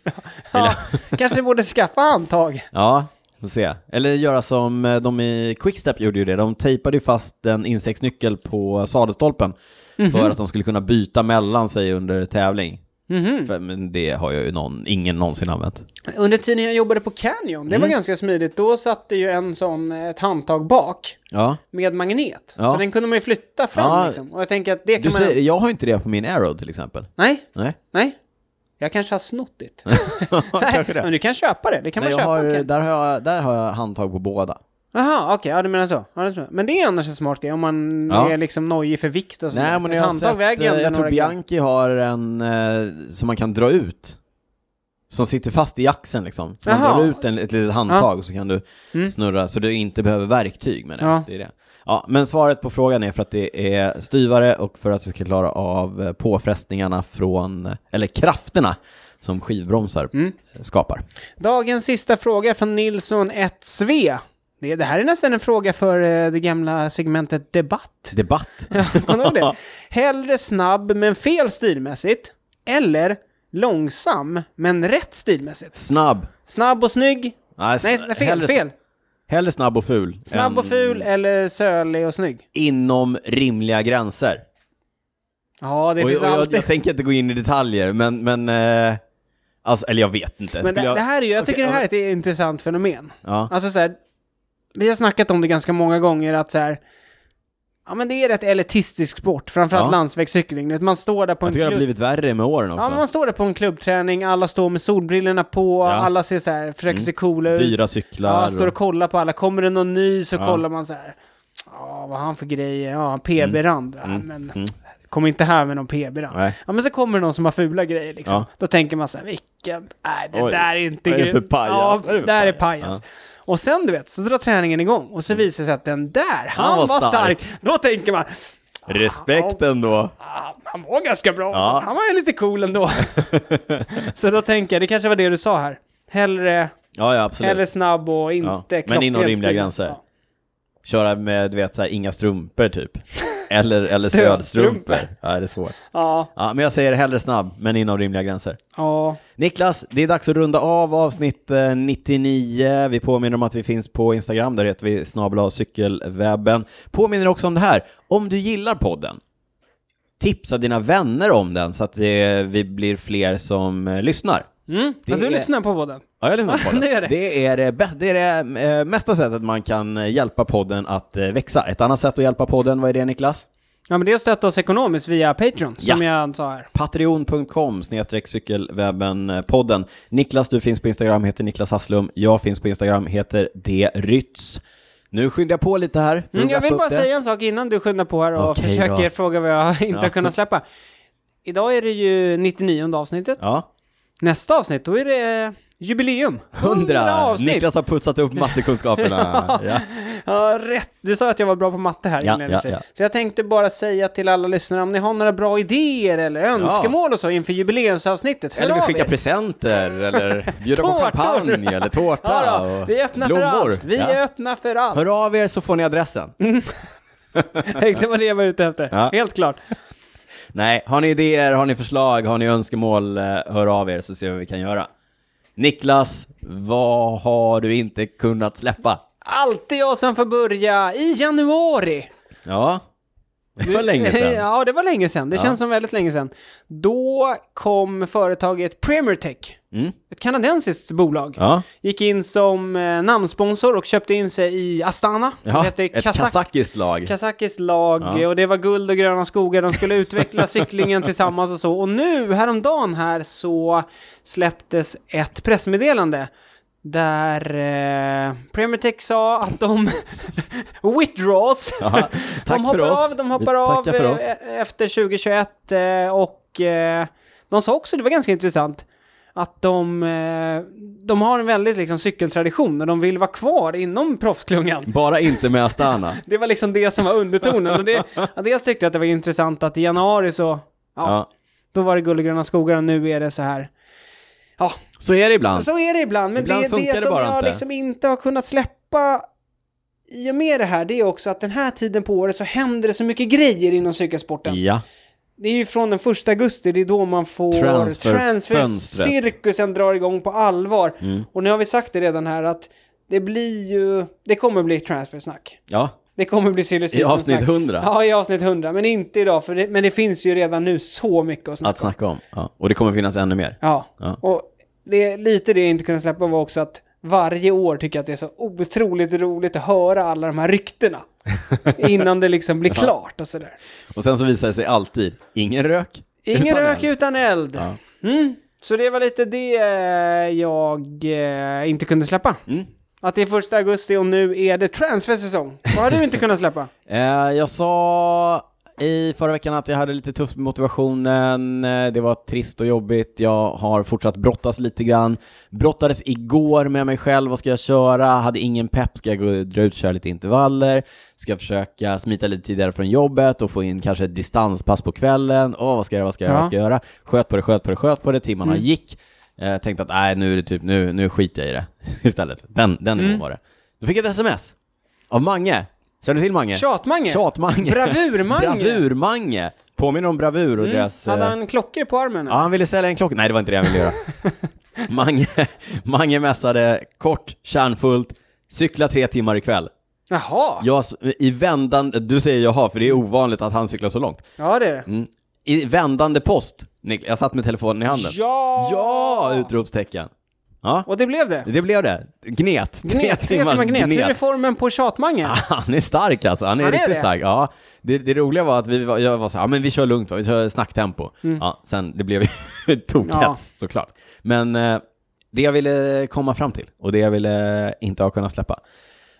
[SPEAKER 2] Ja, kanske borde skaffa handtag.
[SPEAKER 1] Ja, får se. Eller göra som eh, de i Quickstep gjorde ju det. De tejpade ju fast en insektsnyckel på sadelstolpen för att de skulle kunna byta mellan sig under tävling.
[SPEAKER 2] Mhm.
[SPEAKER 1] För- Men det har ju någon, ingen någonsin använt.
[SPEAKER 2] Under tiden jag jobbade på Canyon, det var ganska smidigt, då satt det ju en sån, eh, ett handtag bak
[SPEAKER 1] Ja.
[SPEAKER 2] med magnet.
[SPEAKER 1] Ja.
[SPEAKER 2] Så den kunde man ju flytta fram
[SPEAKER 1] Ja.
[SPEAKER 2] liksom. Och jag tänker att det
[SPEAKER 1] Du
[SPEAKER 2] kan man...
[SPEAKER 1] ser, jag har inte det på min Arrow till exempel.
[SPEAKER 2] Nej,
[SPEAKER 1] Nej,
[SPEAKER 2] nej. Jag kanske har snott det.
[SPEAKER 1] kanske det.
[SPEAKER 2] Men du kan köpa det, det kan
[SPEAKER 1] Nej,
[SPEAKER 2] man
[SPEAKER 1] jag
[SPEAKER 2] köpa.
[SPEAKER 1] har,
[SPEAKER 2] okej.
[SPEAKER 1] där, har jag, där har jag handtag på båda.
[SPEAKER 2] Jaha, okej, ja du menar så. Ja, det tror jag. Men det är annars en smart grej om man
[SPEAKER 1] Ja.
[SPEAKER 2] är liksom nojig för vikt och sånt.
[SPEAKER 1] Nej,
[SPEAKER 2] där.
[SPEAKER 1] men
[SPEAKER 2] Ett
[SPEAKER 1] jag har
[SPEAKER 2] handtag
[SPEAKER 1] sett,
[SPEAKER 2] väger
[SPEAKER 1] eh,
[SPEAKER 2] ändå
[SPEAKER 1] jag tror
[SPEAKER 2] några gram.
[SPEAKER 1] Bianchi har en eh, som man kan dra ut. Som sitter fast i axeln liksom. Så man
[SPEAKER 2] Jaha. Mm.
[SPEAKER 1] drar ut en, ett litet handtag så kan du snurra så du inte behöver verktyg med det.
[SPEAKER 2] Ja.
[SPEAKER 1] det, är det. Ja, men svaret på frågan är för att det är styvare och för att det ska klara av eh, påfrestningarna från, eh, eller krafterna som skivbromsar
[SPEAKER 2] Mm.
[SPEAKER 1] eh, skapar.
[SPEAKER 2] Dagens sista fråga från Nilsson 1Sve. Det, det här är nästan en fråga för eh, det gamla segmentet debatt.
[SPEAKER 1] Debatt.
[SPEAKER 2] Kommer du ihåg det? Hellre snabb men fel stilmässigt. Eller långsam men rätt stilmässigt.
[SPEAKER 1] Snabb.
[SPEAKER 2] Snabb och snygg.
[SPEAKER 1] Nej, s-
[SPEAKER 2] Nej, s-
[SPEAKER 1] hellre,
[SPEAKER 2] fel, fel.
[SPEAKER 1] Hellre snabb och ful.
[SPEAKER 2] Snabb och
[SPEAKER 1] än
[SPEAKER 2] ful eller sölig och snygg.
[SPEAKER 1] Inom rimliga gränser.
[SPEAKER 2] Ja, det
[SPEAKER 1] Och, och
[SPEAKER 2] finns
[SPEAKER 1] jag,
[SPEAKER 2] alltid.
[SPEAKER 1] jag tänker inte gå in i detaljer, men, men eh, alltså, eller jag vet inte.
[SPEAKER 2] Men
[SPEAKER 1] Skulle
[SPEAKER 2] det,
[SPEAKER 1] jag,
[SPEAKER 2] det här är ju, jag
[SPEAKER 1] Okej,
[SPEAKER 2] tycker det här är ett intressant fenomen.
[SPEAKER 1] ja.
[SPEAKER 2] Alltså så här, vi har snackat om det ganska många gånger att så här, ja men det är rätt elitistisk sport, framförallt
[SPEAKER 1] Ja.
[SPEAKER 2] landsvägscykling. Du vet, Man står där på
[SPEAKER 1] Jag
[SPEAKER 2] en
[SPEAKER 1] tycker det har
[SPEAKER 2] klubb.
[SPEAKER 1] blivit värre med åren
[SPEAKER 2] Ja,
[SPEAKER 1] också.
[SPEAKER 2] men man står där på en klubbträning, alla står med solbrillorna på,
[SPEAKER 1] Ja. Mm.
[SPEAKER 2] alla ser så här, försöker se coola ut.
[SPEAKER 1] Dyra
[SPEAKER 2] Ja,
[SPEAKER 1] cyklar.
[SPEAKER 2] står och kollar på alla. Kommer det någon ny så
[SPEAKER 1] Ja.
[SPEAKER 2] kollar man så här. Ja, vad har han för grejer? Ja, PB-rand. Ja, men kom inte här med någon PB-rand.
[SPEAKER 1] Mm. Nej.
[SPEAKER 2] Ja, men så kommer det någon som har fula grejer liksom.
[SPEAKER 1] Ja.
[SPEAKER 2] Då tänker man så här, vilken? Nej, det
[SPEAKER 1] Oj,
[SPEAKER 2] där är inte
[SPEAKER 1] vad är det för
[SPEAKER 2] grymt.
[SPEAKER 1] pajas?
[SPEAKER 2] Ja,
[SPEAKER 1] Vad är det
[SPEAKER 2] det
[SPEAKER 1] för
[SPEAKER 2] där är
[SPEAKER 1] pajas? Mm.
[SPEAKER 2] pajas. Och sen du vet, så drar träningen igång och så visar det sig att den där, han,
[SPEAKER 1] var
[SPEAKER 2] var,
[SPEAKER 1] stark.
[SPEAKER 2] stark. Då tänker man,
[SPEAKER 1] och... Respekt ändå.
[SPEAKER 2] ah, han var ganska bra.
[SPEAKER 1] Ja.
[SPEAKER 2] Han var ju lite cool ändå. så då tänker jag, det kanske var det du sa här. Hellre
[SPEAKER 1] Ja, ja, absolut.
[SPEAKER 2] eller snabb och inte
[SPEAKER 1] Ja, men
[SPEAKER 2] klockrent.
[SPEAKER 1] inom rimliga
[SPEAKER 2] stil.
[SPEAKER 1] gränser.
[SPEAKER 2] Ja.
[SPEAKER 1] Köra med, du vet, så här, inga strumpor typ. Eller, eller
[SPEAKER 2] Stödstrumpor.
[SPEAKER 1] stödstrumpor. Ja, det är svårt.
[SPEAKER 2] Ja,
[SPEAKER 1] Ja, men jag säger hellre snabb, men inom rimliga gränser.
[SPEAKER 2] ja.
[SPEAKER 1] Niklas, det är dags att runda av avsnitt eh, 99. Vi påminner om att vi finns på Instagram, där heter vi snabla cykelwebben. Påminner också om det här, om du gillar podden, tipsa dina vänner om den så att det, vi blir fler som eh, lyssnar.
[SPEAKER 2] Mm.
[SPEAKER 1] Det
[SPEAKER 2] ja du
[SPEAKER 1] är-
[SPEAKER 2] lyssnar på podden.
[SPEAKER 1] Ja, jag lyssnar på podden.
[SPEAKER 2] Det gör det.
[SPEAKER 1] Det är det, bä- det, är det eh, mesta sättet man kan eh, hjälpa podden att eh, växa. Ett annat sätt att hjälpa podden, vad är det Niklas?
[SPEAKER 2] Ja, men det är att stötta oss ekonomiskt via Patreon, som
[SPEAKER 1] Ja.
[SPEAKER 2] jag sa här.
[SPEAKER 1] Patreon.com snedstreck cykelwebben-podden. Niklas, du finns på Instagram, heter Niklas Hasslum. Jag finns på Instagram, heter drytz. Nu skyndar jag på lite här. för
[SPEAKER 2] Mm,
[SPEAKER 1] att
[SPEAKER 2] jag
[SPEAKER 1] wrappa
[SPEAKER 2] vill
[SPEAKER 1] upp
[SPEAKER 2] bara
[SPEAKER 1] det.
[SPEAKER 2] säga en sak innan du skyndar på här och
[SPEAKER 1] Okej
[SPEAKER 2] försöker
[SPEAKER 1] då.
[SPEAKER 2] fråga vad jag inte
[SPEAKER 1] Ja.
[SPEAKER 2] har kunnat släppa. Idag är det ju 99 avsnittet.
[SPEAKER 1] Ja,
[SPEAKER 2] Nästa avsnitt, då är det eh, jubileum. 100
[SPEAKER 1] hundra!
[SPEAKER 2] avsnitt!
[SPEAKER 1] Niklas har putsat upp mattekunskaperna. ja.
[SPEAKER 2] Ja, rätt. Du sa att jag var bra på matte här
[SPEAKER 1] Ja,
[SPEAKER 2] inledningsvis.
[SPEAKER 1] ja, ja.
[SPEAKER 2] Så jag tänkte bara säga till alla lyssnare om ni har några bra idéer eller önskemål och så inför jubileumsavsnittet, hör
[SPEAKER 1] Eller vi
[SPEAKER 2] av
[SPEAKER 1] skickar
[SPEAKER 2] er.
[SPEAKER 1] presenter, eller bjuder på
[SPEAKER 2] Tårtor.
[SPEAKER 1] champagne, eller tårta,
[SPEAKER 2] Ja, då.
[SPEAKER 1] och
[SPEAKER 2] Vi är öppna
[SPEAKER 1] blommor.
[SPEAKER 2] för allt. Vi
[SPEAKER 1] Ja.
[SPEAKER 2] är öppna för allt.
[SPEAKER 1] Hör av er så får ni adressen.
[SPEAKER 2] Tänk, Det var det jag var ute efter.
[SPEAKER 1] Ja.
[SPEAKER 2] Helt klart.
[SPEAKER 1] Nej, har ni idéer, har ni förslag, har ni önskemål, eh, hör av er så ser vi vad vi kan göra. Niklas, vad har du inte kunnat släppa?
[SPEAKER 2] Alltid jag som får börja i januari.
[SPEAKER 1] Ja, det var länge sedan.
[SPEAKER 2] ja, det var länge sedan. Det
[SPEAKER 1] Ja.
[SPEAKER 2] känns som väldigt länge sedan. Då kom företaget Premier Tech,
[SPEAKER 1] Mm.
[SPEAKER 2] ett kanadensiskt bolag.
[SPEAKER 1] Ja,
[SPEAKER 2] Gick in som eh, namnsponsor och köpte in sig i Astana.
[SPEAKER 1] ja.
[SPEAKER 2] hette
[SPEAKER 1] ett kazakiskt lag.
[SPEAKER 2] Kazakiskt lag
[SPEAKER 1] Ja.
[SPEAKER 2] och det var guld och gröna skogar. De skulle utveckla cyklingen tillsammans och så. Och nu, häromdagen här, så släpptes ett pressmeddelande där eh, Premier Tech sa att de withdraws.
[SPEAKER 1] Ja, tack
[SPEAKER 2] de hoppar
[SPEAKER 1] för oss.
[SPEAKER 2] av, de hoppar
[SPEAKER 1] Vi
[SPEAKER 2] av
[SPEAKER 1] tackar för
[SPEAKER 2] eh,
[SPEAKER 1] oss.
[SPEAKER 2] e- efter 2021 eh, och eh, de sa också, det var ganska intressant, att de, eh, de har en väldigt liksom, cykeltradition och de vill vara kvar inom proffsklungan.
[SPEAKER 1] Bara inte med Astana.
[SPEAKER 2] Det var liksom det som var undertonen. Och det, ja, dels tyckte jag att det var intressant att i januari så, ja,
[SPEAKER 1] Ja.
[SPEAKER 2] då var det guld och gröna skogar och nu är det så här. Ja,
[SPEAKER 1] Så är det ibland.
[SPEAKER 2] så är det ibland. Men
[SPEAKER 1] Ibland
[SPEAKER 2] det,
[SPEAKER 1] funkar
[SPEAKER 2] det
[SPEAKER 1] det
[SPEAKER 2] som
[SPEAKER 1] bara
[SPEAKER 2] jag
[SPEAKER 1] inte.
[SPEAKER 2] liksom inte har kunnat släppa i och med det här, det är också att den här tiden på året så händer det så mycket grejer inom cykelsporten.
[SPEAKER 1] Ja.
[SPEAKER 2] Det är ju från den första augusti, det är då man får
[SPEAKER 1] Transfer-
[SPEAKER 2] transfercirkusen drar igång på allvar.
[SPEAKER 1] Mm.
[SPEAKER 2] Och nu har vi sagt det redan här att det blir ju, det kommer bli transfersnack.
[SPEAKER 1] ja,
[SPEAKER 2] Det kommer bli silly
[SPEAKER 1] i
[SPEAKER 2] season
[SPEAKER 1] avsnitt
[SPEAKER 2] snack.
[SPEAKER 1] 100
[SPEAKER 2] Ja, i avsnitt 100, men inte idag, för det, men det finns ju redan nu så mycket att snacka
[SPEAKER 1] att snacka om. Ja. Och det kommer finnas ännu mer.
[SPEAKER 2] Ja,
[SPEAKER 1] Ja.
[SPEAKER 2] och det, är lite det jag inte kunde släppa var också att varje år tycker jag att det är så otroligt roligt att höra alla de här ryktena. innan det liksom blir klart och sådär.
[SPEAKER 1] Och sen så visar det sig alltid, ingen rök.
[SPEAKER 2] Ingen
[SPEAKER 1] utan
[SPEAKER 2] rök
[SPEAKER 1] eld.
[SPEAKER 2] utan eld.
[SPEAKER 1] Ja.
[SPEAKER 2] Mm. Så det var lite det eh, jag eh, inte kunde släppa.
[SPEAKER 1] Mm.
[SPEAKER 2] Att det är första augusti och nu är det transfersäsong. Vad har du inte kunnat släppa?
[SPEAKER 1] Eh, jag sa i förra veckan att jag hade lite tufft med motivationen, eh, det var trist och jobbigt, jag har fortsatt brottas lite grann, brottades igår med mig själv, vad ska jag köra, hade ingen pepp, ska jag gå, dra ut och köra lite intervaller, ska jag försöka smita lite tidigare från jobbet och få in kanske ett distanspass på kvällen, åh vad ska jag göra, vad ska jag göra,
[SPEAKER 2] Ja.
[SPEAKER 1] vad ska jag göra, sköt på det, sköt på det, sköt på det, timmarna
[SPEAKER 2] Mm.
[SPEAKER 1] gick, eh, tänkte att nej nu är det typ, nu, nu skiter jag i det istället, den, den nivån
[SPEAKER 2] Mm.
[SPEAKER 1] var det. Då fick jag ett sms av Mange, känner du till Mange?
[SPEAKER 2] Tjatmange?
[SPEAKER 1] Tjatmange.
[SPEAKER 2] Bravurmange?
[SPEAKER 1] Bravurmange. Påminner om bravur och
[SPEAKER 2] Mm.
[SPEAKER 1] deras... eh,
[SPEAKER 2] Hade han klockor på armen?
[SPEAKER 1] Ja, han ville sälja en klocka. Nej, det var inte det han ville göra. Mange, Mange mässade kort, kärnfullt, cykla tre timmar ikväll.
[SPEAKER 2] Jaha,
[SPEAKER 1] Jag, s- I vändande... Du säger jaha, för det är ovanligt att han cyklar så långt.
[SPEAKER 2] ja det är det.
[SPEAKER 1] Mm. I vändande post. Nik- Jag satt med telefonen i handen.
[SPEAKER 2] Ja!
[SPEAKER 1] Ja! Utropstecken. Ja,
[SPEAKER 2] Och det blev det.
[SPEAKER 1] det blev det. Gnet. Ah. Tre
[SPEAKER 2] Gnet, tre timmar gnet. Hur är formen på tjatmangen?
[SPEAKER 1] Han är stark alltså, han är
[SPEAKER 2] Han är
[SPEAKER 1] riktigt
[SPEAKER 2] det?
[SPEAKER 1] stark. Ja, det, det roliga var att vi var, jag var så här, ja men vi kör lugnt va, vi kör snacktempo. Ja, sen det blev ju tokhets
[SPEAKER 2] Mm. Ja.
[SPEAKER 1] såklart. Men eh, det jag ville komma fram till och det jag ville inte ha kunnat släppa,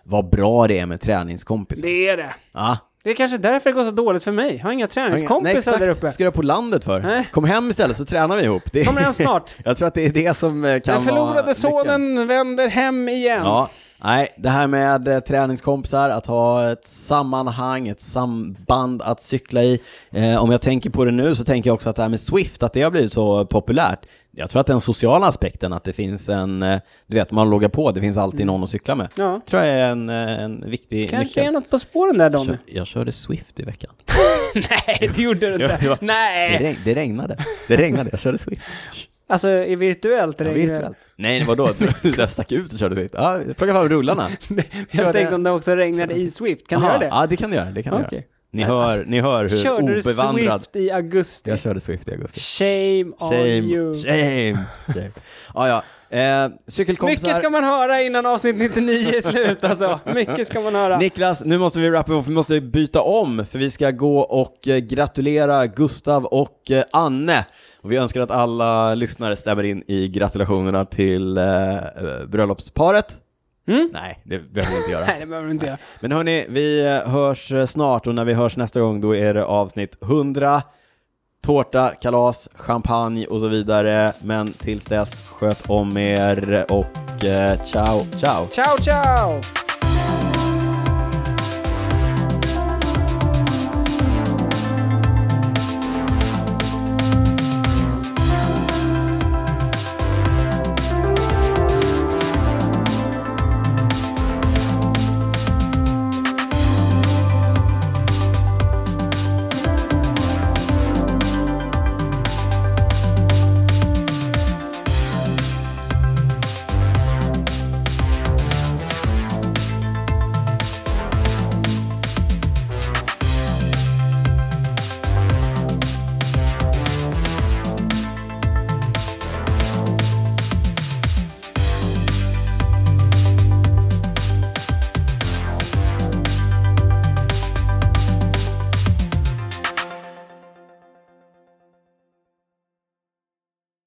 [SPEAKER 1] vad bra det är med träningskompisar.
[SPEAKER 2] Det är det.
[SPEAKER 1] Ja.
[SPEAKER 2] Det är kanske därför det går så dåligt för mig. Jag har inga
[SPEAKER 1] Nej,
[SPEAKER 2] träningskompisar
[SPEAKER 1] exakt.
[SPEAKER 2] där uppe.
[SPEAKER 1] Ska du på landet för?
[SPEAKER 2] Nej.
[SPEAKER 1] Kom hem istället så tränar vi ihop. Det,
[SPEAKER 2] Kommer hem snart.
[SPEAKER 1] jag tror att det är det som eh, kan
[SPEAKER 2] Den förlorade
[SPEAKER 1] vara lyckan.
[SPEAKER 2] sonen vänder hem igen.
[SPEAKER 1] Ja, nej, det här med eh, träningskompisar, att ha ett sammanhang, ett samband att cykla i. Eh, om jag tänker på det nu så tänker jag också att det här med Swift, att det har blivit så populärt. Jag tror att den sociala aspekten, att det finns en, eh, du vet, man loggar på, det finns alltid någon att cykla med.
[SPEAKER 2] Mm. Ja.
[SPEAKER 1] tror jag är en, eh, en viktig
[SPEAKER 2] Kanske är
[SPEAKER 1] nyckel.
[SPEAKER 2] något på spåren där,
[SPEAKER 1] Jag,
[SPEAKER 2] Donny.
[SPEAKER 1] jag körde Swift i veckan.
[SPEAKER 2] Nej, det gjorde du
[SPEAKER 1] Ja, det var- Det,
[SPEAKER 2] Nej!
[SPEAKER 1] reg- det regnade. Det regnade, jag körde Swift.
[SPEAKER 2] Alltså, i virtuellt
[SPEAKER 1] Ja,
[SPEAKER 2] regn.
[SPEAKER 1] virtuellt. Nej, vadå? Jag trodde jag stack ut och körde Swift. Ja, jag plockade fram rullarna.
[SPEAKER 2] Jag
[SPEAKER 1] Körde-
[SPEAKER 2] tänkte om det också regnade i Swift. Kan du
[SPEAKER 1] Aha,
[SPEAKER 2] göra det?
[SPEAKER 1] Ja, det kan du göra. Det kan du göra.
[SPEAKER 2] Okej.
[SPEAKER 1] Ni hör, ni hör hur
[SPEAKER 2] alltså, Körde du
[SPEAKER 1] obevandrad...
[SPEAKER 2] Swift i augusti?
[SPEAKER 1] Jag körde Swift i augusti.
[SPEAKER 2] Shame, on you.
[SPEAKER 1] Shame, shame. shame. Ja, ja. Eh, cykelkompisar.
[SPEAKER 2] Mycket ska man höra innan avsnitt 99 är slut alltså. Mycket ska man höra.
[SPEAKER 1] Niklas, nu måste vi rappa upp, vi måste byta om, för vi ska gå och eh, gratulera Gustav och eh, Anne. Och vi önskar att alla lyssnare stämmer in i gratulationerna till eh, eh, bröllopsparet.
[SPEAKER 2] Mm?
[SPEAKER 1] Nej, det behöver vi inte göra.
[SPEAKER 2] Nej, det behöver du inte göra.
[SPEAKER 1] Men hörni, vi eh, hörs eh, snart och när vi hörs nästa gång då är det avsnitt 100. Tårta, kalas, champagne och så vidare. Men tills dess, sköt om er och eh, ciao, ciao!
[SPEAKER 2] Ciao, ciao!